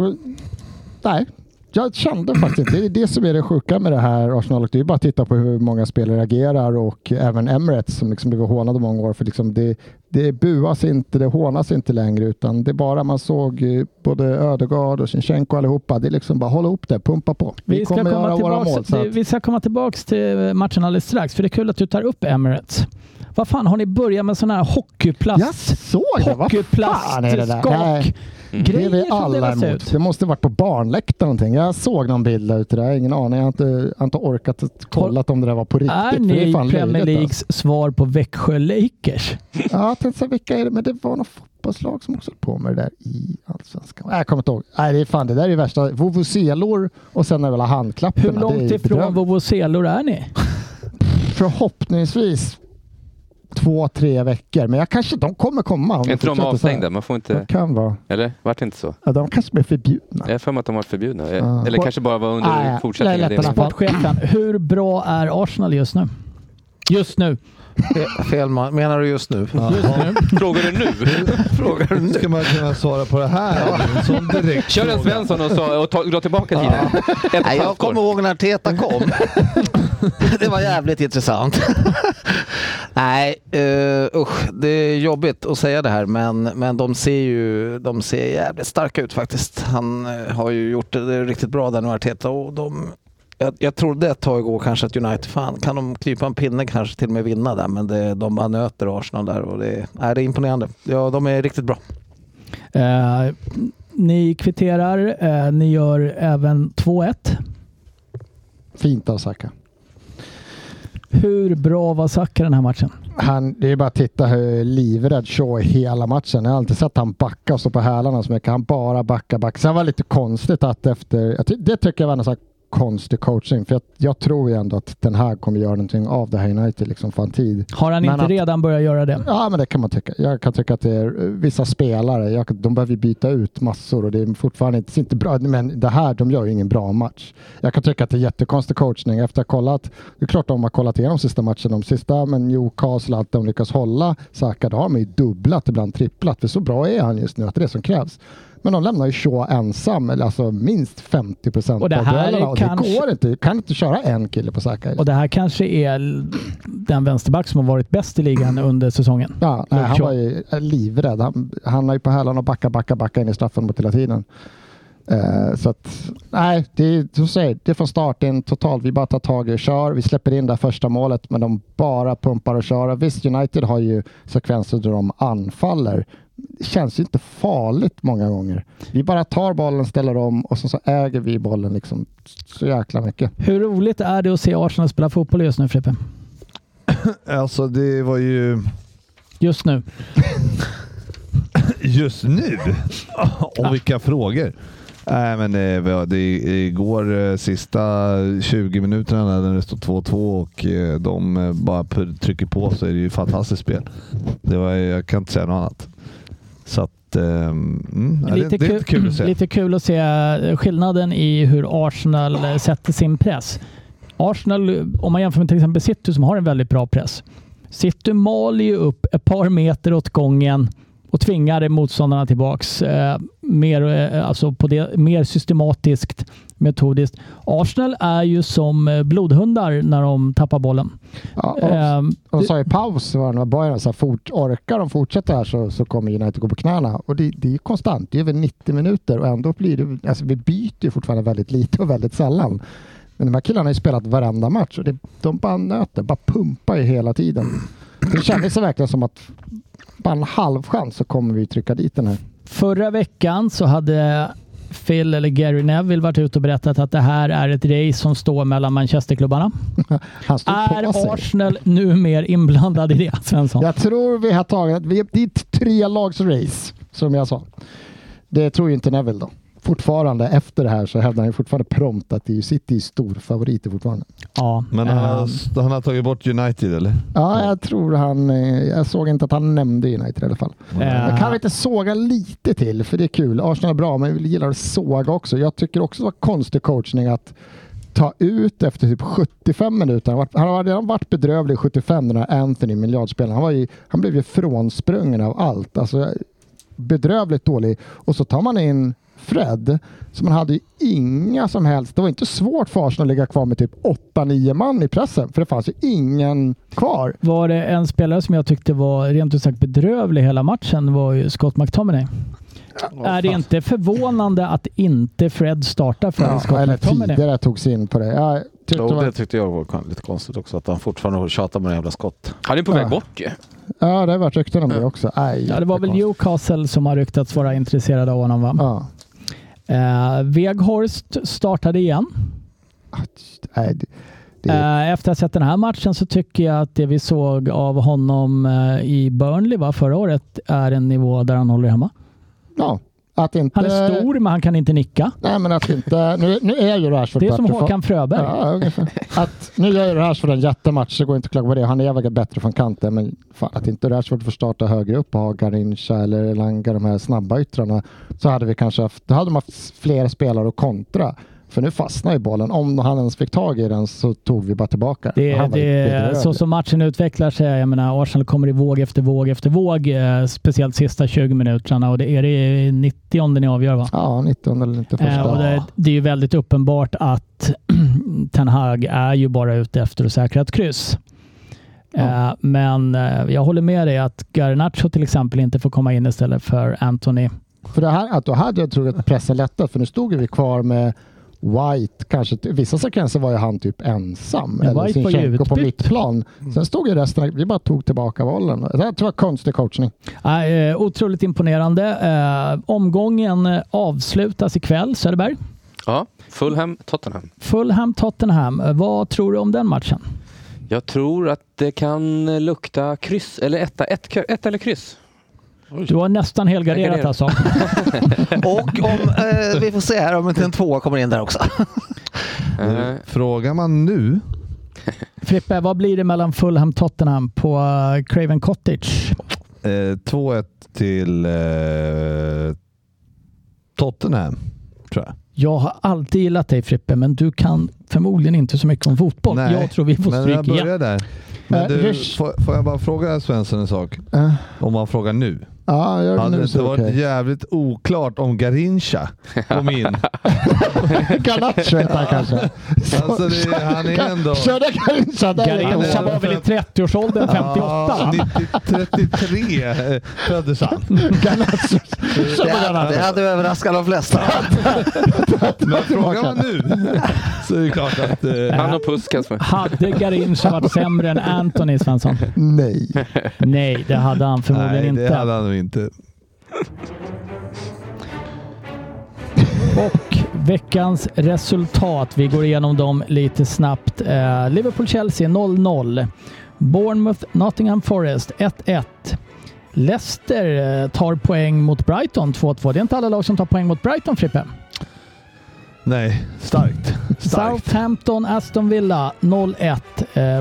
Speaker 4: Nej, jag kände faktiskt inte. Det är det som är det sjuka med det här Arsenal. Det är ju bara att titta på hur många spelare agerar och även Emirates som liksom blev hånade i många år. För liksom det, det buas inte, det hånas inte längre utan det är bara man såg eh, både Ödegaard och Sinchenko allihopa. Det är liksom bara hålla upp det, pumpa på. Vi, kommer göra våra mål.
Speaker 3: tillbaks,
Speaker 4: Så att,
Speaker 3: vi ska komma tillbaka till matchen alldeles strax, för det är kul att du tar upp Emirates. Vad fan, har ni börjat med sån här hockeyplast?
Speaker 4: jag såg det! Vad fan är det där?
Speaker 3: Hockeyplastskak.
Speaker 4: Nej,
Speaker 3: Mm.
Speaker 4: det är vi alla emot. Det måste varit på barnläktaren någonting. Jag såg någon bild där ute. Där. Jag har ingen aning. Jag har inte, jag har inte orkat kolla om det där var på riktigt.
Speaker 3: Är
Speaker 4: för det
Speaker 3: ni
Speaker 4: fan
Speaker 3: Premier
Speaker 4: löjligt,
Speaker 3: Leagues svar på Växjö Lakers?
Speaker 4: alltså. Ja, jag tänkte så här, vilka är det? Men det var något fotbollslag som också höll på med det där i Allsvenskan. Nej, Jag kommer inte ihåg. Nej, det är fan det där är det värsta. Vuvuzelor och sen är det alla
Speaker 3: Hur
Speaker 4: handklapporna. det
Speaker 3: långt
Speaker 4: är
Speaker 3: ifrån
Speaker 4: bedrövligt.
Speaker 3: vovozelor är ni?
Speaker 4: Förhoppningsvis två, tre veckor. Men jag kanske, de kommer komma. om
Speaker 7: Är
Speaker 4: de
Speaker 7: inte de
Speaker 4: fortsätter så här.
Speaker 7: avstängda? Man får
Speaker 4: Det
Speaker 7: inte...
Speaker 4: kan vara.
Speaker 7: Eller? Vart det inte så?
Speaker 4: Ja, de kanske blir förbjudna.
Speaker 7: Jag har för mig att de varit förbjudna. Eh,
Speaker 4: Ah.
Speaker 7: Eller kanske bara var under
Speaker 4: Ah, ja.
Speaker 7: fortsättningen.
Speaker 4: Det är lätt att-
Speaker 3: Sportchefen, hur bra är Arsenal just nu? Just nu.
Speaker 5: Fel man. Menar du just nu?
Speaker 6: Jaha.
Speaker 7: Frågar du nu? Frågar du nu?
Speaker 6: Ska man kunna svara på det här? En sån direkt
Speaker 7: Kör en
Speaker 6: fråga.
Speaker 7: Svensson och, sa, och ta, dra tillbaka tiden. Ett och
Speaker 5: Nej,
Speaker 7: ett
Speaker 5: jag
Speaker 7: halvt år.
Speaker 5: kommer ihåg när Teta kom. det var jävligt intressant. Nej, uh, usch, det är jobbigt att säga det här men, men de ser ju de ser jävligt starka ut faktiskt. Han eh, har ju gjort det riktigt bra där nu Arteta och de jag, jag trodde ett tag igår kanske att United, fan kan de klypa en pinne kanske till och med vinna där men det, de bara nöter Arsenal där och det, nej, det är imponerande. Ja, de är riktigt bra.
Speaker 3: Eh, ni kvitterar, eh, ni gör även 2-1.
Speaker 4: Fint av Saka.
Speaker 3: Hur bra var Saka den här matchen?
Speaker 4: Han, det är bara att titta hur livrädd Shaw är hela matchen. Jag har alltid sett han backa och stå på hälarna så mycket. Han bara backa, backa. Sen var det lite konstigt att efter... Jag ty, det tycker jag var en sån här konstig coaching. För jag, jag tror ju ändå att den här kommer göra någonting av det här United. Liksom, för en tid.
Speaker 3: Har han
Speaker 4: Men
Speaker 3: inte
Speaker 4: att-
Speaker 3: redan börjat göra det?
Speaker 4: Ja, men det kan man tycka. Jag kan tycka att det är eh, vissa spelare, jag, de behöver ju byta ut massor och det är fortfarande inte, ser inte bra Men det här, de gör ju ingen bra match. Jag kan tycka att det är jättekonstig coachning efter att ha kollat. Det är klart de har kollat igenom sista matchen, de sista, men Newcastle, allt de lyckas hålla Saka, då har de ju dubblat, ibland tripplat, för så bra är han just nu att det är det som krävs. Men de lämnar ju Shaw ensam, eller alltså minst 50 procent
Speaker 3: Och
Speaker 4: av
Speaker 3: det här är
Speaker 4: duellerna. Och det
Speaker 3: kanske-
Speaker 4: går inte. Du kan inte köra en kille på Saka.
Speaker 3: Och det här kanske är l- den vänsterback som har varit bäst i ligan under säsongen.
Speaker 4: Ja, nej,
Speaker 3: Luke
Speaker 4: han
Speaker 3: Shaw.
Speaker 4: var ju eh, livrädd. Han, han har ju på hälarna och backa, backa, backa in i straffområdet hela tiden. Eh, så att, nej, det är, som du säger, det är från start. Det är en total, vi bara tar tag i och kör. Vi släpper in det här första målet, men de bara pumpar och kör. Visst, United har ju sekvenser där de anfaller. Det känns ju inte farligt många gånger. Vi bara tar bollen, ställer om och sen så äger vi bollen liksom så jäkla mycket.
Speaker 3: Hur roligt är det att se Arsenal spela fotboll just nu Frippe?
Speaker 6: Alltså det var ju
Speaker 3: Just nu.
Speaker 6: just nu. Och vilka frågor. Nej, men det var det är igår eh, sista 20 minuterna när det står 2-2 och eh, de eh, bara pur- trycker på så är det ju fantastiskt spel. Det var, jag kan inte säga något annat. Så att, ehm, mm, nej, det, det är inte kul att se.
Speaker 3: lite kul att se eh, skillnaden i hur Arsenal eh, sätter sin press. Arsenal, om man jämför med till exempel City som har en väldigt bra press. City maler ju upp ett par meter åt gången och tvingar motståndarna tillbaks. Eh, mer, eh, alltså på det, mer systematiskt, metodiskt. Arsenal är ju som eh, blodhundar när de tappar bollen.
Speaker 4: Ja, och,
Speaker 3: Ehm,
Speaker 4: och sa i paus, var det några Bayern, så här, fort, orkar de fortsätta här så, så kommer United gå på knäna. Och det, det är ju konstant, det är över 90 minuter och ändå blir det, alltså vi byter ju fortfarande väldigt lite och väldigt sällan. Men de här killarna har ju spelat varenda match och det, de bara nöter, bara pumpar ju hela tiden. Det kändes ju verkligen som att bara en halv chans så kommer vi trycka dit den här.
Speaker 3: Förra veckan så hade Phil eller Gary Neville varit ute och berättat att det här är ett race som står mellan Manchesterklubbarna.
Speaker 4: Han stod på sig.
Speaker 3: Är Arsenal numera inblandad i det, Svensson?
Speaker 4: Jag tror vi har tagit, vi- det är ett trelagsrace som jag sa. Det tror ju inte Neville då. Fortfarande efter det här så hävdar han ju fortfarande prompt att det är City är storfavoriter fortfarande.
Speaker 3: Ja.
Speaker 6: Men eh, han,
Speaker 3: ehm,
Speaker 6: har, han har tagit bort United eller?
Speaker 4: Ja, jag tror han, eh, jag såg inte att han nämnde United i alla fall.
Speaker 3: eh,
Speaker 4: Jag kan väl inte såga lite till, för det är kul. Arsenal är bra, men vi gillar att såga också. Jag tycker också det var konstig coachning att ta ut efter typ 75 minuter. Han var- Han har redan varit bedrövlig i 75, den här Anthony, miljardspelaren. Han, var ju, han blev ju frånsprungen av allt. Alltså, bedrövligt dålig. Och så tar man in Fred, så man hade ju inga som helst... Det var inte svårt för Arsenal att ligga kvar med typ 8-9 man i pressen, för det fanns ju ingen kvar.
Speaker 3: var det en spelare som jag tyckte var rent ut sagt bedrövlig hela matchen var ju Scott McTominay. är det inte förvånande att inte Fred startar för Scott
Speaker 4: eller
Speaker 3: McTominay?
Speaker 4: tidigare togs in på det. Jag
Speaker 3: typ
Speaker 4: tyckte det
Speaker 5: Jo,
Speaker 4: var
Speaker 5: det tyckte jag var kon- lite konstigt också, att han fortfarande tjatar med den jävla skott.
Speaker 7: Han är på väg
Speaker 4: Ja.
Speaker 7: bort ju.
Speaker 4: Ja, det har varit rykten om det också. Nej,
Speaker 3: Ja, det var väl
Speaker 4: jättekonstigt.
Speaker 3: Newcastle som har ryktats vara intresserade av honom va?
Speaker 4: Ja.
Speaker 3: Eh, Weghorst startade igen.
Speaker 4: Nej, det, det,
Speaker 3: Eh, efter att ha sett den här matchen så tycker jag att det vi såg av honom eh, i Burnley va, förra året är en nivå där han håller hemma.
Speaker 4: ja. Att inte...
Speaker 3: Han är stor men han kan inte nicka.
Speaker 4: Nej, men att inte... Nu, nu är ju Rashford
Speaker 3: Det är som
Speaker 4: bättre
Speaker 3: Håkan Fröberg.
Speaker 4: Ja, ungefär. Att, nu gör ju Rashford en jättematch, så går inte att klaga på det. Han är väl bättre från kanten, men fan, att inte Rashford får starta högre upp och ha Garincha eller Elanga, de här snabba yttrarna, så hade vi kanske haft, då hade de haft fler spelare att kontra. För nu fastnar ju bollen. Om han ens fick tag i den så tog vi bara tillbaka.
Speaker 3: Det,
Speaker 4: Han var
Speaker 3: det
Speaker 4: ju
Speaker 3: är
Speaker 4: bedrövlig.
Speaker 3: så som matchen utvecklar sig. Jag menar, Arsenal kommer i våg efter våg efter våg. Eh, speciellt sista 20 minuterna och det är det i 90 ni avgör va?
Speaker 4: Ja, 19 eller inte första.
Speaker 3: Eh, och det, det är ju väldigt uppenbart att Ten Hag är ju bara ute efter att säkra ett kryss. Eh, men eh, jag håller med dig att Garnacho till exempel inte får komma in istället för Anthony.
Speaker 4: För det här, att då hade jag trott att pressen lättat för nu stod ju vi kvar med White, kanske vissa sekvenser var ju han typ ensam.
Speaker 3: Men
Speaker 4: eller
Speaker 3: White var ju
Speaker 4: Zinchenko på
Speaker 3: utbytt.
Speaker 4: mittplan.
Speaker 6: Mm.
Speaker 4: Sen stod ju resten, vi bara tog tillbaka bollen. Det här tror jag var konstig coachning.
Speaker 3: Eh, eh, otroligt imponerande. Eh, omgången eh, avslutas ikväll, Söderberg.
Speaker 7: Ja, Fulham, Tottenham.
Speaker 3: Fulham-Tottenham. Eh, Vad tror du om den matchen?
Speaker 7: Jag tror att det kan eh, lukta kryss, eller etta, ett, ett eller kryss.
Speaker 3: Du har nästan helgarderat
Speaker 7: Helgarderat.
Speaker 3: alltså.
Speaker 5: Och om, eh, vi får se här om inte en tvåa kommer in där också.
Speaker 7: Eh,
Speaker 6: Frågar man nu?
Speaker 3: Frippe, vad blir det mellan Fulham-Tottenham på eh, Craven Cottage?
Speaker 6: Eh, 2-1 till eh, Tottenham, tror jag.
Speaker 3: Jag har alltid gillat dig Frippe, men du kan förmodligen inte så mycket om fotboll.
Speaker 6: Nej,
Speaker 3: Jag tror vi får
Speaker 6: Men jag
Speaker 3: stryk igen.
Speaker 6: börjar där. Men
Speaker 4: Eh,
Speaker 6: du,
Speaker 4: Rysch.
Speaker 6: får, får jag bara fråga Svensson en sak?
Speaker 4: Eh.
Speaker 6: Om man frågar nu.
Speaker 4: Ja, jag
Speaker 6: Hade
Speaker 4: nu
Speaker 6: det
Speaker 4: så
Speaker 6: inte
Speaker 4: är det
Speaker 6: varit
Speaker 4: okej.
Speaker 6: jävligt oklart om Garincha kom in?
Speaker 4: Garnacho heter han kanske.
Speaker 6: Alltså det, han är ändå...
Speaker 4: Körde Garnacho där?
Speaker 3: Garincha var väl i 30-årsåldern, 58?
Speaker 6: Ja, 90, 33 föddes han.
Speaker 4: Garnacho. Kör på
Speaker 5: Det
Speaker 4: Garnacho.
Speaker 5: hade överraskat de flesta.
Speaker 6: Men frågar man nu så är det klart att... Eh,
Speaker 7: han och Puskas med.
Speaker 3: Hade Garincha varit sämre än Anthony Svensson?
Speaker 4: Nej.
Speaker 3: Nej, det hade han förmodligen
Speaker 6: nej, det
Speaker 3: inte.
Speaker 6: hade han nog inte.
Speaker 3: Och veckans resultat. Vi går igenom dem lite snabbt. Eh, Liverpool-Chelsea 0-0. Bournemouth-Nottingham Forest 1-1. Leicester eh, tar poäng mot Brighton 2-2. Det är inte alla lag som tar poäng mot Brighton, Frippe.
Speaker 6: Nej, starkt. starkt.
Speaker 3: Southampton, Aston Villa 0-1.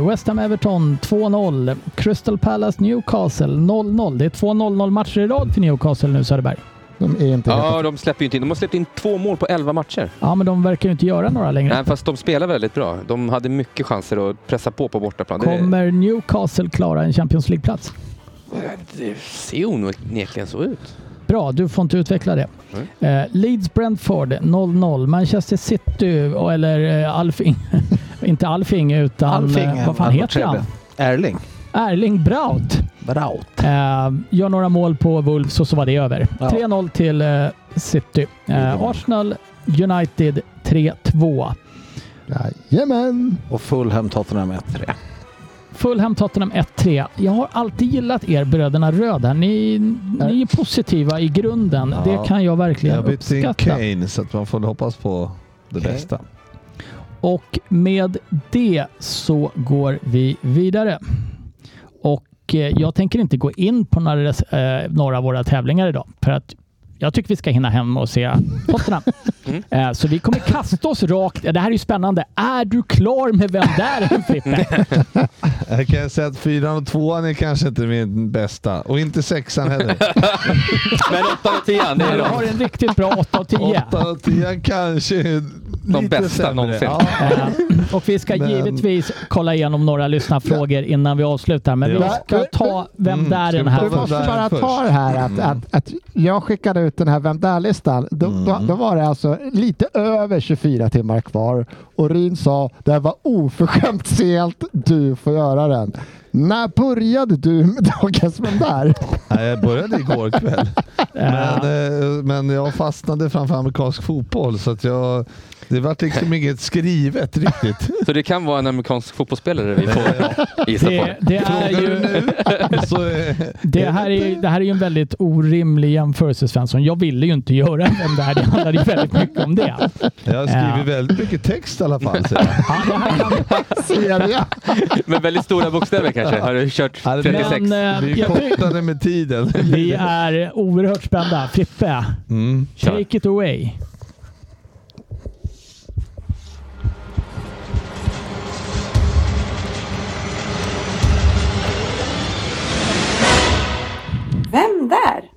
Speaker 3: Eh, West Ham Everton 2-0. Crystal Palace Newcastle 0-0. Det är två 0-0 matcher i rad för Newcastle nu Söderberg.
Speaker 4: De är inte
Speaker 7: Ja, de släpper ju inte in. De har släppt in två mål på elva matcher.
Speaker 3: Ja, men de verkar ju inte göra några längre.
Speaker 7: Nej, fast de spelar väldigt bra. De hade mycket chanser att pressa på på bortaplan. Det,
Speaker 3: Kommer Newcastle klara en Champions League-plats?
Speaker 7: det ser onekligen så ut.
Speaker 3: Bra, du får inte utveckla det.
Speaker 7: Mm.
Speaker 3: Eh, Leeds Brentford 0-0. Manchester City, och- eller eh, Alfing. inte Alfing, utan eh, vad fan heter han?
Speaker 5: Erling.
Speaker 3: Erling Braut.
Speaker 5: Braut.
Speaker 3: Eh, gör några mål på Wolves och så var det över.
Speaker 5: Ja.
Speaker 3: 3-0 till eh, City. Eh, Arsenal United 3-2.
Speaker 4: Jajamän!
Speaker 5: Och Fulham Tottenham 1-3.
Speaker 3: Fulham Tottenham 1-3. Jag har alltid gillat er bröderna Röda. Ni, ni är positiva i grunden.
Speaker 6: Ja.
Speaker 3: Det kan jag verkligen
Speaker 6: Jag bytte in
Speaker 3: uppskatta.
Speaker 6: Kane, så att man får hoppas på det
Speaker 5: Okej.
Speaker 6: bästa.
Speaker 3: Och med det så går vi vidare. Och eh, jag tänker inte gå in på några, res- eh, några av våra tävlingar idag. För att jag tycker vi ska hinna hem och se Tottenham.
Speaker 6: Mm.
Speaker 3: Eh, så vi kommer kasta oss rakt. Det här är ju spännande. Är du klar med vem där är Frippe?
Speaker 6: Jag kan säga att fyran och tvåan är kanske inte min bästa. Och inte sexan heller.
Speaker 7: Men åttan och tian, det är
Speaker 3: Du har
Speaker 7: de.
Speaker 3: en riktigt bra 8 av 10.
Speaker 6: Åttan och tian kanske är lite
Speaker 7: bästa
Speaker 6: sämre.
Speaker 7: någonsin.
Speaker 6: Ja.
Speaker 3: Eh, Och vi ska
Speaker 6: Men-
Speaker 3: givetvis kolla igenom några lyssnarfrågor innan vi avslutar. Men vi
Speaker 6: Ja.
Speaker 3: ska ta Vem
Speaker 6: Mm,
Speaker 3: där är
Speaker 6: ska
Speaker 3: den
Speaker 6: vi
Speaker 3: här
Speaker 6: prova
Speaker 4: Vi
Speaker 6: Vem
Speaker 4: måste bara
Speaker 6: där först?
Speaker 4: ta det här att,
Speaker 6: Mm.
Speaker 4: att, att jag skickade ut den här Vem där-listan. Då, då, då var det alltså lite över 24 timmar kvar och Ryn sa det här var oförskämt sent, du får göra den. När började du med dagens Vem där?
Speaker 6: Nej, jag började igår kväll. Men, eh, men jag fastnade framför amerikansk fotboll så att jag... Det vart liksom inget skrivet riktigt.
Speaker 7: Så det kan vara en amerikansk fotbollsspelare vi får gissa på.
Speaker 3: Det, det, är
Speaker 6: Frågar du
Speaker 3: ju,
Speaker 6: nu så eh, är,
Speaker 3: det, här är, det här är ju en väldigt orimlig jämförelse Svensson. Jag ville ju inte göra vem det här. Det handlade ju väldigt mycket om det.
Speaker 6: Jag har skrivit väldigt mycket text i alla fall. Så jag.
Speaker 3: Ja, det här kan,
Speaker 4: Ser jag.
Speaker 7: Med väldigt stora bokstäver kanske. Har du kört
Speaker 6: Ja, det-
Speaker 7: 36?
Speaker 3: men eh,
Speaker 6: Vi
Speaker 3: jag, ty-
Speaker 6: kortade med tiden.
Speaker 3: vi är oerhört spända. Frippe,
Speaker 6: Mm.
Speaker 7: Kör.
Speaker 3: take it away.
Speaker 9: Vem där?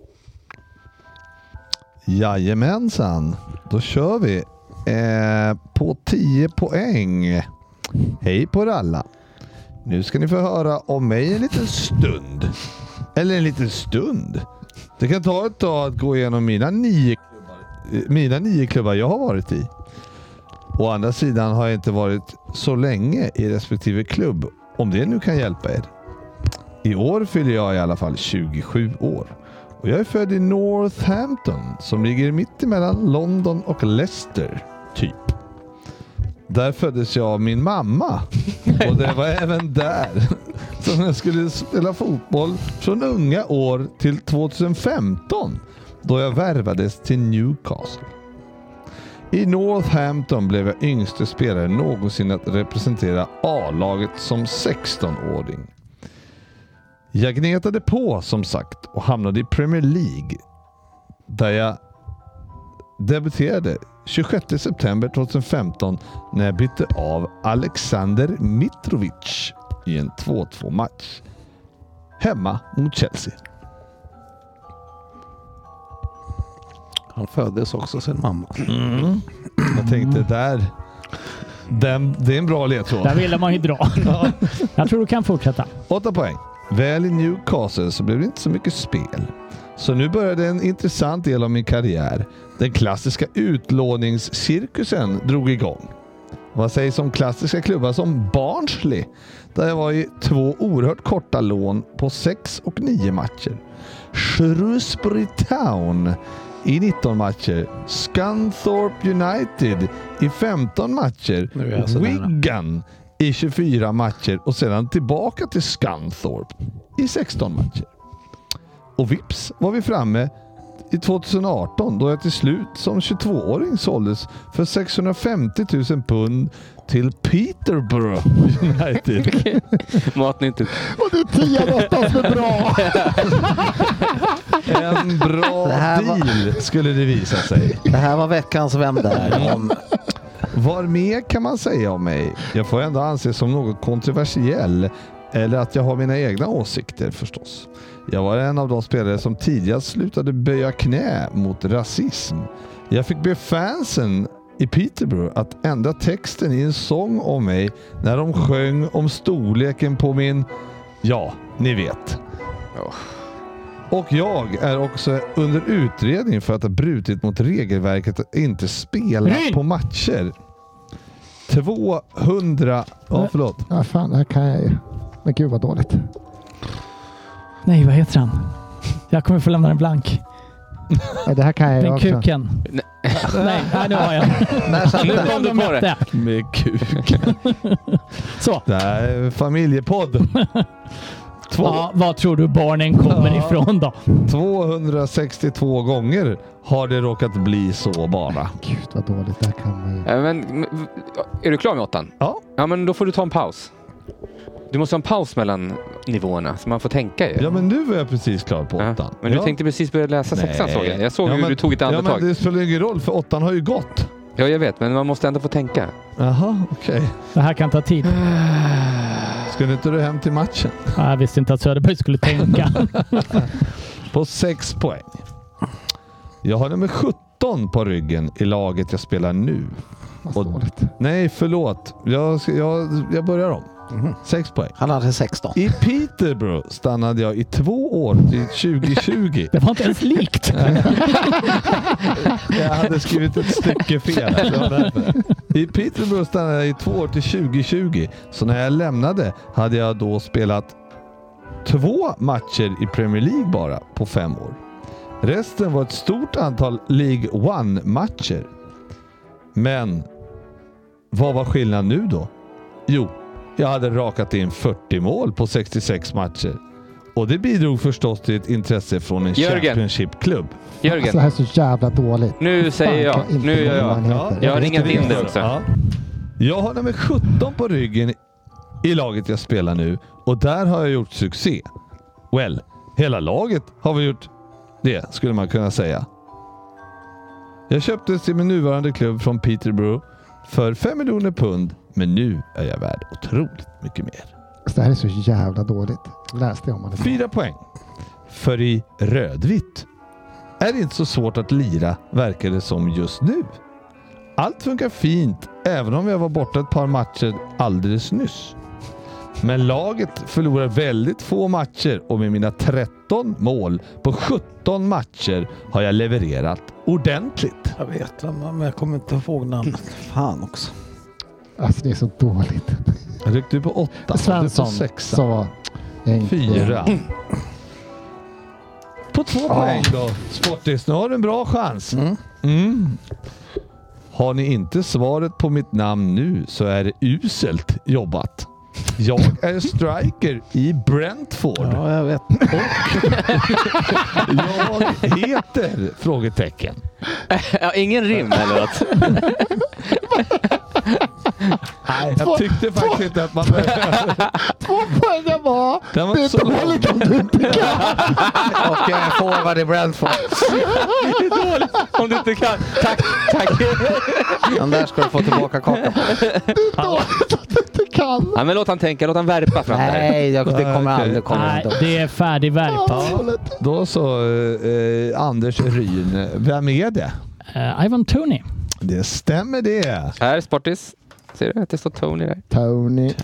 Speaker 6: Jajamensan, då kör vi. Eh, på 10 poäng. Hej på er alla. Nu ska ni få höra om mig en liten stund. Eller en liten stund. Det kan ta ett tag att gå igenom mina nio klubbar, eh, mina nio klubbar jag har varit i. Å andra sidan har jag inte varit så länge i respektive klubb, om det nu kan hjälpa er. I år fyller jag i alla fall 27 år. Och jag är född i Northampton som ligger mitt emellan London och Leicester, typ. Där föddes jag av min mamma och det var även där som jag skulle spela fotboll från unga år till 2015 då jag värvades till Newcastle. I Northampton blev jag yngste spelare någonsin att representera A-laget som 16-åring. Jag gnetade på som sagt och hamnade i Premier League där jag debuterade 26 september 2015 när jag bytte av Alexander Mitrovic i en 2-2 match hemma mot Chelsea.
Speaker 5: Han föddes också sin mamma.
Speaker 6: Jag tänkte där, den, det är en bra ledtråd.
Speaker 3: Där ville man ju dra. Jag tror du kan fortsätta.
Speaker 6: 8 poäng. Väl i Newcastle så blev det inte så mycket spel. Så nu började en intressant del av min karriär. Den klassiska utlåningscirkusen drog igång. Vad sägs om klassiska klubbar som Barnsley? Där jag var i två oerhört korta lån på sex och nio matcher. Shrewsbury Town i 19 matcher. Scunthorpe United i 15 matcher.
Speaker 5: Nu är jag så nära.
Speaker 6: Wigan i 24 matcher och sedan tillbaka till Scunthorpe i 16 matcher. Och vips var vi framme i 2018 då jag till slut som 22-åring såldes för 650 000 pund till Peterborough United.
Speaker 7: Matnyttigt.
Speaker 4: Och du tian
Speaker 5: alltså,
Speaker 4: åttan för bra.
Speaker 6: En bra
Speaker 5: Det här var-
Speaker 6: deal skulle det visa sig.
Speaker 5: Det här var veckans Vem där? Om
Speaker 6: Vad mer kan man säga om mig? Jag får ändå anses som något kontroversiell. Eller att jag har mina egna åsikter förstås. Jag var en av de spelare som tidigast slutade böja knä mot rasism. Jag fick be fansen i Peterborough att ändra texten i en sång om mig när de sjöng om storleken på min... Ja, ni vet. Och jag är också under utredning för att ha brutit mot regelverket att inte spela
Speaker 3: Nej.
Speaker 6: på matcher. 200... Ja, förlåt.
Speaker 4: Ja, fan, det här kan jag ju. Men gud vad dåligt.
Speaker 3: Nej, vad heter han? Jag kommer få lämna den blank.
Speaker 4: Ja, det här kan jag ju
Speaker 3: Den
Speaker 4: också.
Speaker 3: kuken.
Speaker 7: Nej.
Speaker 3: Nej, nej, nu har jag den.
Speaker 6: När satt
Speaker 7: Nu
Speaker 6: den?
Speaker 7: kom du på det.
Speaker 6: Med kuk.
Speaker 3: Så.
Speaker 6: Det här är familjepodd. Två,
Speaker 3: Ja, vad tror du barnen kommer
Speaker 6: Ja.
Speaker 3: ifrån då?
Speaker 6: 262 gånger har det råkat bli så bara.
Speaker 4: Gud vad dåligt, det här kan man ju.
Speaker 7: Ja, Men, men- är du klar med åttan?
Speaker 6: Ja.
Speaker 7: Ja, men då får du ta en paus. Du måste ha en paus mellan nivåerna så man får tänka ju.
Speaker 6: Ja men nu var jag precis klar på
Speaker 7: Ja,
Speaker 6: åttan.
Speaker 7: Men du
Speaker 6: ja.
Speaker 7: tänkte precis börja läsa sexan såg jag. Jag såg
Speaker 6: ja,
Speaker 7: hur
Speaker 6: men-
Speaker 7: du tog ett
Speaker 6: Ja
Speaker 7: andetag.
Speaker 6: men det spelar ju ingen roll för åttan har ju gått.
Speaker 7: Ja, jag vet, men man måste ändå få tänka.
Speaker 6: Jaha, okej.
Speaker 3: Det här kan ta tid.
Speaker 6: Skulle inte du hem till matchen?
Speaker 3: Ja, Jag visste inte att Söderberg skulle tänka.
Speaker 6: På sex poäng. Jag har nummer 17 på ryggen i laget jag spelar nu.
Speaker 4: Vad
Speaker 6: Och-
Speaker 4: dåligt.
Speaker 6: Nej, förlåt. Jag, ska- jag, jag börjar om.
Speaker 7: Mhm.
Speaker 6: Sex poäng.
Speaker 5: Han hade 16.
Speaker 6: I Peterborough stannade jag i två år till 2020.
Speaker 3: Det var inte ens likt.
Speaker 6: Jag hade skrivit ett stycke fel. så det var därför. I Peterborough stannade jag i två år till 2020, så när jag lämnade hade jag då spelat två matcher i Premier League bara på fem år. Resten var ett stort antal League One-matcher. Men vad var skillnaden nu då? Jo, jag hade rakat in 40 mål på 66 matcher. Och det bidrog förstås till ett intresse från en
Speaker 7: Jörgen.
Speaker 6: Championship-klubb.
Speaker 4: Alltså, det
Speaker 7: Jörgen,
Speaker 4: här är så jävla dåligt.
Speaker 7: nu säger
Speaker 4: Fan, kan
Speaker 7: jag.
Speaker 4: inte
Speaker 7: Nu gör
Speaker 4: vara vad
Speaker 7: jag.
Speaker 4: han heter.
Speaker 7: Jag har ringat in
Speaker 6: det
Speaker 7: dig också.
Speaker 6: Jag har nummer 17 på ryggen i laget jag spelar nu och där har jag gjort succé. Well, hela laget har vi gjort det, skulle man kunna säga. Jag köptes till min nuvarande klubb från Peterborough för 5 miljoner pund, men nu är jag värd otroligt mycket mer.
Speaker 4: Alltså, det här är så jävla dåligt. Läste jag om det.
Speaker 6: Fyra poäng. För i rödvitt är det inte så svårt att lira, verkar det som just nu. Allt funkar fint, även om jag var borta ett par matcher alldeles nyss. Men laget förlorar väldigt få matcher och med mina 13 mål på 17 matcher har jag levererat ordentligt.
Speaker 5: Jag vet, men jag kommer inte ihåg namnet. Fan också.
Speaker 4: Alltså det är så dåligt.
Speaker 6: Jag ryckte ju på åtta.
Speaker 4: Svensson
Speaker 6: Du på sexa.
Speaker 4: sa egentligen-
Speaker 6: Fyra. På två poäng då. Sportis, nu har du en bra chans. Mm. Har ni inte svaret på mitt namn nu så är det uselt jobbat. Jag är striker i Brentford.
Speaker 5: Ja, jag vet.
Speaker 6: Jag heter... Frågetecken.
Speaker 7: Ja, ingen rim eller något.
Speaker 6: Nej, jag tyckte faktiskt inte att man behövde...
Speaker 4: Två poäng var...
Speaker 6: Den var
Speaker 4: Det är
Speaker 6: inte så lång.
Speaker 4: dåligt om du inte kan.
Speaker 5: Och jag är forward i Brentford.
Speaker 7: Det är dåligt om du inte kan. Tack, tack.
Speaker 5: Den där ska du få tillbaka kakan på.
Speaker 4: dåligt om du inte kan.
Speaker 7: Ja, men låt han tänka, låt han värpa fram det här.
Speaker 5: Nej, jag- det kommer aldrig komma.
Speaker 3: Nej,
Speaker 5: ändå.
Speaker 3: det är färdigverk.
Speaker 4: Vad dåligt.
Speaker 6: Då så, eh, eh, Anders Ryn. Vem är det?
Speaker 3: Eh, Ivan Tony.
Speaker 6: Det stämmer det.
Speaker 7: Här, Sportis. Ser du att det står Tony där?
Speaker 4: Tony.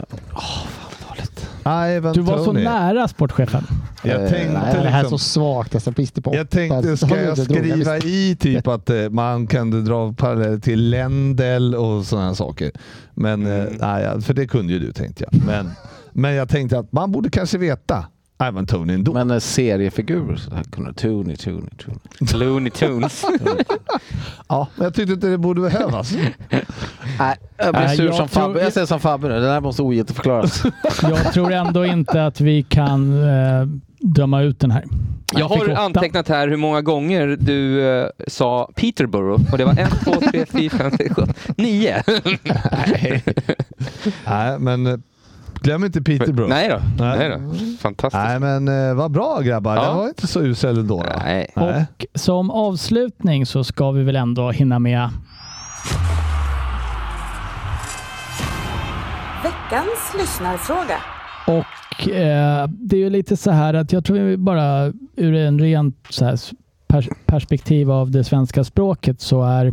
Speaker 6: Ivan
Speaker 3: Du var så
Speaker 6: Toney.
Speaker 3: nära sportchefen.
Speaker 6: Jag
Speaker 5: Eh,
Speaker 6: tänkte,
Speaker 4: Nej, det här är
Speaker 6: liksom-
Speaker 4: så svagt. Alltså, visste på
Speaker 6: jag
Speaker 4: åtta.
Speaker 6: tänkte,
Speaker 4: Så har
Speaker 6: ska
Speaker 4: du
Speaker 6: jag
Speaker 4: det drog.
Speaker 6: skriva
Speaker 4: visste-
Speaker 6: i typ att eh, man kunde dra paralleller till Lendl och sådana saker. Men,
Speaker 4: Mm.
Speaker 6: eh, nej, ja, för det kunde ju du tänkte jag. Men, men jag tänkte att man borde kanske veta Ivan Tony ändå.
Speaker 5: Men eh, seriefigurer så här kunde Tony, Tony, Tony.
Speaker 7: Looney Tunes.
Speaker 6: ja, men jag tyckte inte det borde behövas.
Speaker 5: Nej, jag blir
Speaker 3: Nej,
Speaker 5: sur
Speaker 3: jag
Speaker 5: som
Speaker 3: tror-
Speaker 5: Fabbe. Jag säger som Fabbe nu. Det där måste ogiltigförklaras.
Speaker 3: Jag tror ändå inte att vi kan eh, döma ut den här.
Speaker 7: Jag
Speaker 3: fick
Speaker 7: har
Speaker 3: åtta.
Speaker 7: antecknat här hur många gånger du eh, sa Peterborough. Och det var en, två, tre, fyra, fem, sex, sju, nio.
Speaker 6: nej. nej, men eh, glöm inte Peterborough.
Speaker 7: Nej då.
Speaker 6: Nej.
Speaker 7: Nej då. Fantastiskt.
Speaker 6: Nej, men eh, vad bra grabbar.
Speaker 7: Ja.
Speaker 6: Det var inte så usel ändå. då.
Speaker 7: Nej.
Speaker 6: Nej.
Speaker 3: Och som avslutning så ska vi väl ändå hinna med
Speaker 9: Veckans lyssnarfråga.
Speaker 3: Och eh, det är ju lite så här att jag tror vi bara ur en rent så här pers- perspektiv av det svenska språket så är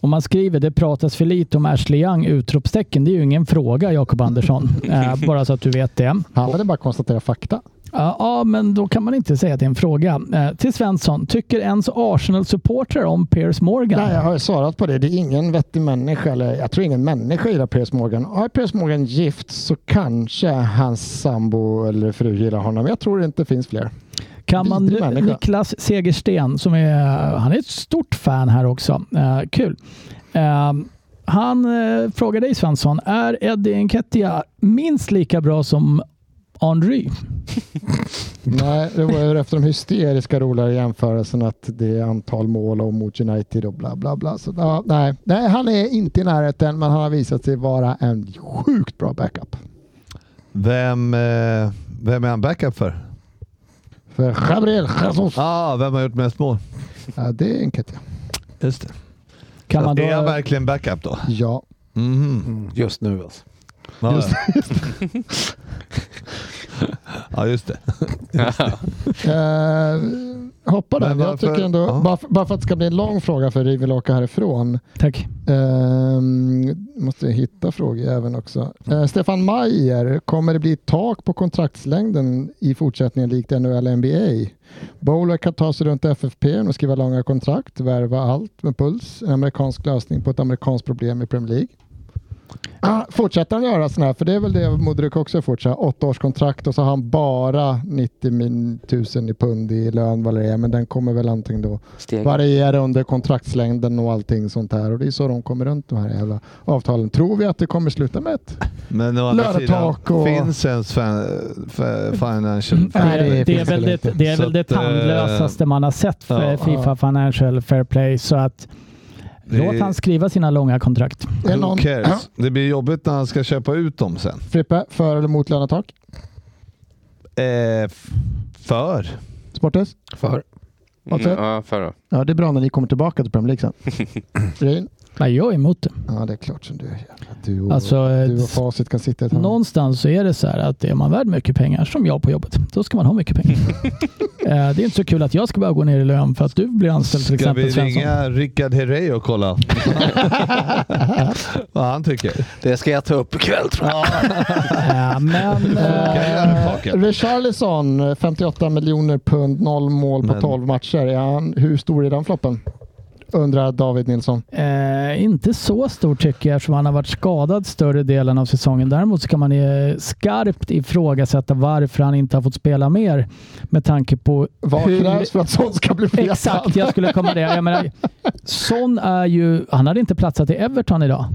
Speaker 3: om man skriver det pratas för lite om Ashley Young utropstecken. Det är ju ingen fråga Jakob Andersson. Eh, bara så att du vet det.
Speaker 4: Han ville bara konstatera fakta.
Speaker 3: Ja, ja, men då kan man inte säga att det är en fråga. Eh, till Svensson, tycker ens Arsenal-supportrar om Piers Morgan?
Speaker 4: Nej, jag har ju svarat på det. Det är ingen vettig människa, eller jag tror ingen människa gillar Piers Morgan. Är Piers Morgan gift så kanske hans sambo eller fru gillar honom. Jag tror det inte finns fler.
Speaker 3: Kan man,
Speaker 4: Vidrig människa.
Speaker 3: Niklas Segersten, som är, han är ett stort fan här också. Eh, kul. Eh, han eh, frågar dig Svensson, är Eddie Enketia minst lika bra som Henry?
Speaker 4: Nej, det var ju efter de hysteriska roligare jämförelsen att det är antal mål och mot United och bla bla bla. Så, ja, nej. nej, han är inte i närheten men han har visat sig vara en sjukt bra backup.
Speaker 6: Vem, eh, vem är han backup för?
Speaker 4: För Gabriel Jesus,
Speaker 6: Ah, vem har gjort mest mål?
Speaker 4: ja, det är enkelt. ja.
Speaker 6: Just det.
Speaker 3: Kan man då,
Speaker 6: är han verkligen backup då?
Speaker 4: Ja,
Speaker 6: Mhm.
Speaker 5: Just nu alltså.
Speaker 6: Ja, just det. ja, just det.
Speaker 4: Eh, hoppa
Speaker 6: Men
Speaker 4: den. Jag
Speaker 6: varför-
Speaker 4: tycker ändå,
Speaker 6: ja.
Speaker 4: bara, för, bara för att det ska bli en lång fråga för vi vill åka härifrån.
Speaker 3: tack.
Speaker 4: Ehm, måste jag hitta frågor även också. Eh, Stefan Mayer, kommer det bli ett tak på kontraktslängden i fortsättningen likt NHL och NBA? Bowler kan ta sig runt FFP och skriva långa kontrakt, värva allt med puls, en amerikansk lösning på ett amerikanskt problem i Premier League. Ah, fortsätter han göra sådana här, för det är väl det Modric också fortsätter, åtta års kontrakt och så har han bara 90 min- 000 i pund i lön vad det är, men den kommer väl antingen då
Speaker 7: Steg.
Speaker 4: variera under kontraktslängden och allting sånt här. Och det är så de kommer runt de här jävla avtalen. Tror vi att det kommer sluta med ett?
Speaker 6: Men å andra sidan,
Speaker 4: Löretak och-
Speaker 6: finns ens fan- fa- financial...
Speaker 4: Nej, det
Speaker 3: Mm, det, är
Speaker 4: finns
Speaker 3: väl
Speaker 4: väl
Speaker 3: det,
Speaker 4: inte.
Speaker 3: det, är
Speaker 6: Så
Speaker 3: väl det
Speaker 6: att, eh,
Speaker 3: tandlösaste man har sett för
Speaker 6: ja,
Speaker 3: Fifa
Speaker 4: ja.
Speaker 3: Financial Fair Play. Så att,
Speaker 6: Det-
Speaker 3: låt han skriva sina långa kontrakt.
Speaker 4: Är
Speaker 6: Who
Speaker 4: någon
Speaker 6: cares? Det blir jobbigt när han ska köpa ut dem sen.
Speaker 4: Frippe, för eller mot lönetak?
Speaker 6: Eh, f- för?
Speaker 4: Sportis?
Speaker 5: För?
Speaker 7: Mm,
Speaker 4: Okej.
Speaker 7: ja, förra.
Speaker 4: Ja, det är bra när ni kommer tillbaka till Premier League sen. Ryn?
Speaker 3: Nej, jag är emot det.
Speaker 4: Ja, det är klart som du är. jävla. Du och,
Speaker 3: Alltså, eh,
Speaker 4: du och Facit kan sitta i ett hörn.
Speaker 3: Någonstans så är det så här att är man värd mycket pengar, som jag på jobbet, då ska man ha mycket pengar. Eh, det är inte så kul att jag ska behöva gå ner i lön för att du blir anställd till
Speaker 6: Ska
Speaker 3: exempel
Speaker 6: vi
Speaker 3: Svensson.
Speaker 6: ringa Rickard Herrey och kolla vad han tycker?
Speaker 5: Det ska jag ta upp ikväll tror jag.
Speaker 3: Eh, men eh,
Speaker 4: Eh, Richarlison, 58 miljoner pund, noll mål på
Speaker 6: Men-
Speaker 4: 12 matcher. Är han, hur stor är den floppen? Undrar David Nilsson.
Speaker 3: eh, inte så stor tycker jag eftersom han har varit skadad större delen av säsongen. Däremot så kan man eh, skarpt ifrågasätta varför han inte har fått spela mer med tanke på
Speaker 4: Vad
Speaker 3: hur
Speaker 4: krävs för att sånt ska bli vetad?
Speaker 3: Exakt, jag skulle komma det. Jag menar, Son är ju... Han hade inte platsat i Everton idag.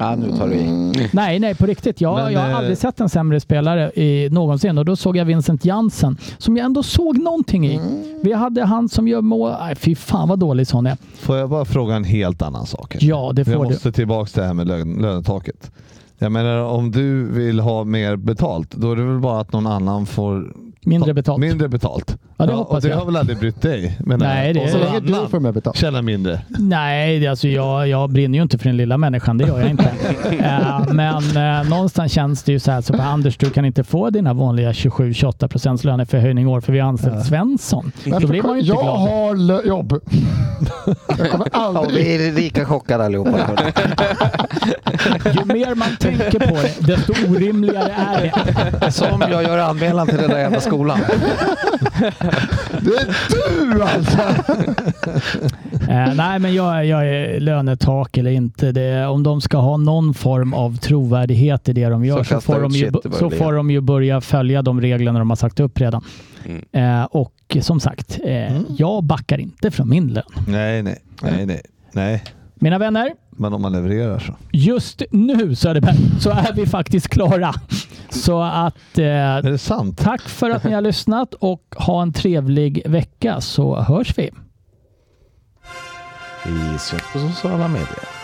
Speaker 5: Ja, nu tar du i.
Speaker 3: Nej, nej, på riktigt. Jag,
Speaker 6: Men,
Speaker 3: jag har
Speaker 6: eh,
Speaker 3: aldrig sett en sämre spelare i, någonsin och då såg jag Vincent Jansen som jag ändå såg någonting i.
Speaker 6: Mm.
Speaker 3: Vi hade han som gör mål... Nej, fy fan vad dålig Son är.
Speaker 6: Får jag bara fråga en helt annan sak? här?
Speaker 3: Ja, det
Speaker 6: jag
Speaker 3: får du.
Speaker 6: måste tillbaka till det här med lön, lönetaket. Jag menar, om du vill ha mer betalt, då är det väl bara att någon annan får
Speaker 3: Mindre betalt.
Speaker 6: mindre betalt.
Speaker 3: Ja, det hoppas
Speaker 6: och det
Speaker 3: jag.
Speaker 6: har väl aldrig brytt dig? menar
Speaker 3: Nej,
Speaker 6: jag.
Speaker 3: det-
Speaker 6: och
Speaker 4: Så
Speaker 6: någon
Speaker 4: länge du
Speaker 6: annan
Speaker 4: får mer betalt.
Speaker 6: tjänar mindre.
Speaker 3: Nej, det- alltså jag, jag brinner ju inte för den lilla människan. Det gör jag inte. Eh, men eh, någonstans känns det ju så här. Så på Anders, du kan inte få dina vanliga 27-28 procents löneförhöjning i år för vi har anställt Svensson. Då
Speaker 4: Varför
Speaker 3: blir man ju
Speaker 4: kom-
Speaker 3: inte glad.
Speaker 4: jag har lö- jobb. jag kommer
Speaker 5: Ja,
Speaker 4: aldrig...
Speaker 5: vi är lika chockade allihopa.
Speaker 3: Ju mer man tänker på det, desto orimligare är det.
Speaker 5: Som jag gör anmälan till den där jävla skolan.
Speaker 4: Det är du alltså!
Speaker 3: Eh, nej, men jag, jag är lönetak eller inte. Det, om de ska ha någon form av trovärdighet i det de gör
Speaker 5: Så
Speaker 3: så,
Speaker 5: kasta
Speaker 3: får,
Speaker 5: ut
Speaker 3: de ju,
Speaker 5: shit i
Speaker 3: så
Speaker 5: början.
Speaker 3: får de ju börja följa de reglerna de har sagt upp redan.
Speaker 7: Mm.
Speaker 3: Eh, och som sagt, eh, jag backar inte från min lön.
Speaker 6: Nej, nej, nej, nej, nej.
Speaker 3: Mina vänner,
Speaker 6: Men om man levererar så.
Speaker 3: just nu Söderberg så är vi faktiskt klara. Så att
Speaker 6: Är
Speaker 3: eh,
Speaker 6: det sant?
Speaker 3: tack för att ni har lyssnat och ha en trevlig vecka så hörs vi.
Speaker 5: Vi syns på sociala medier.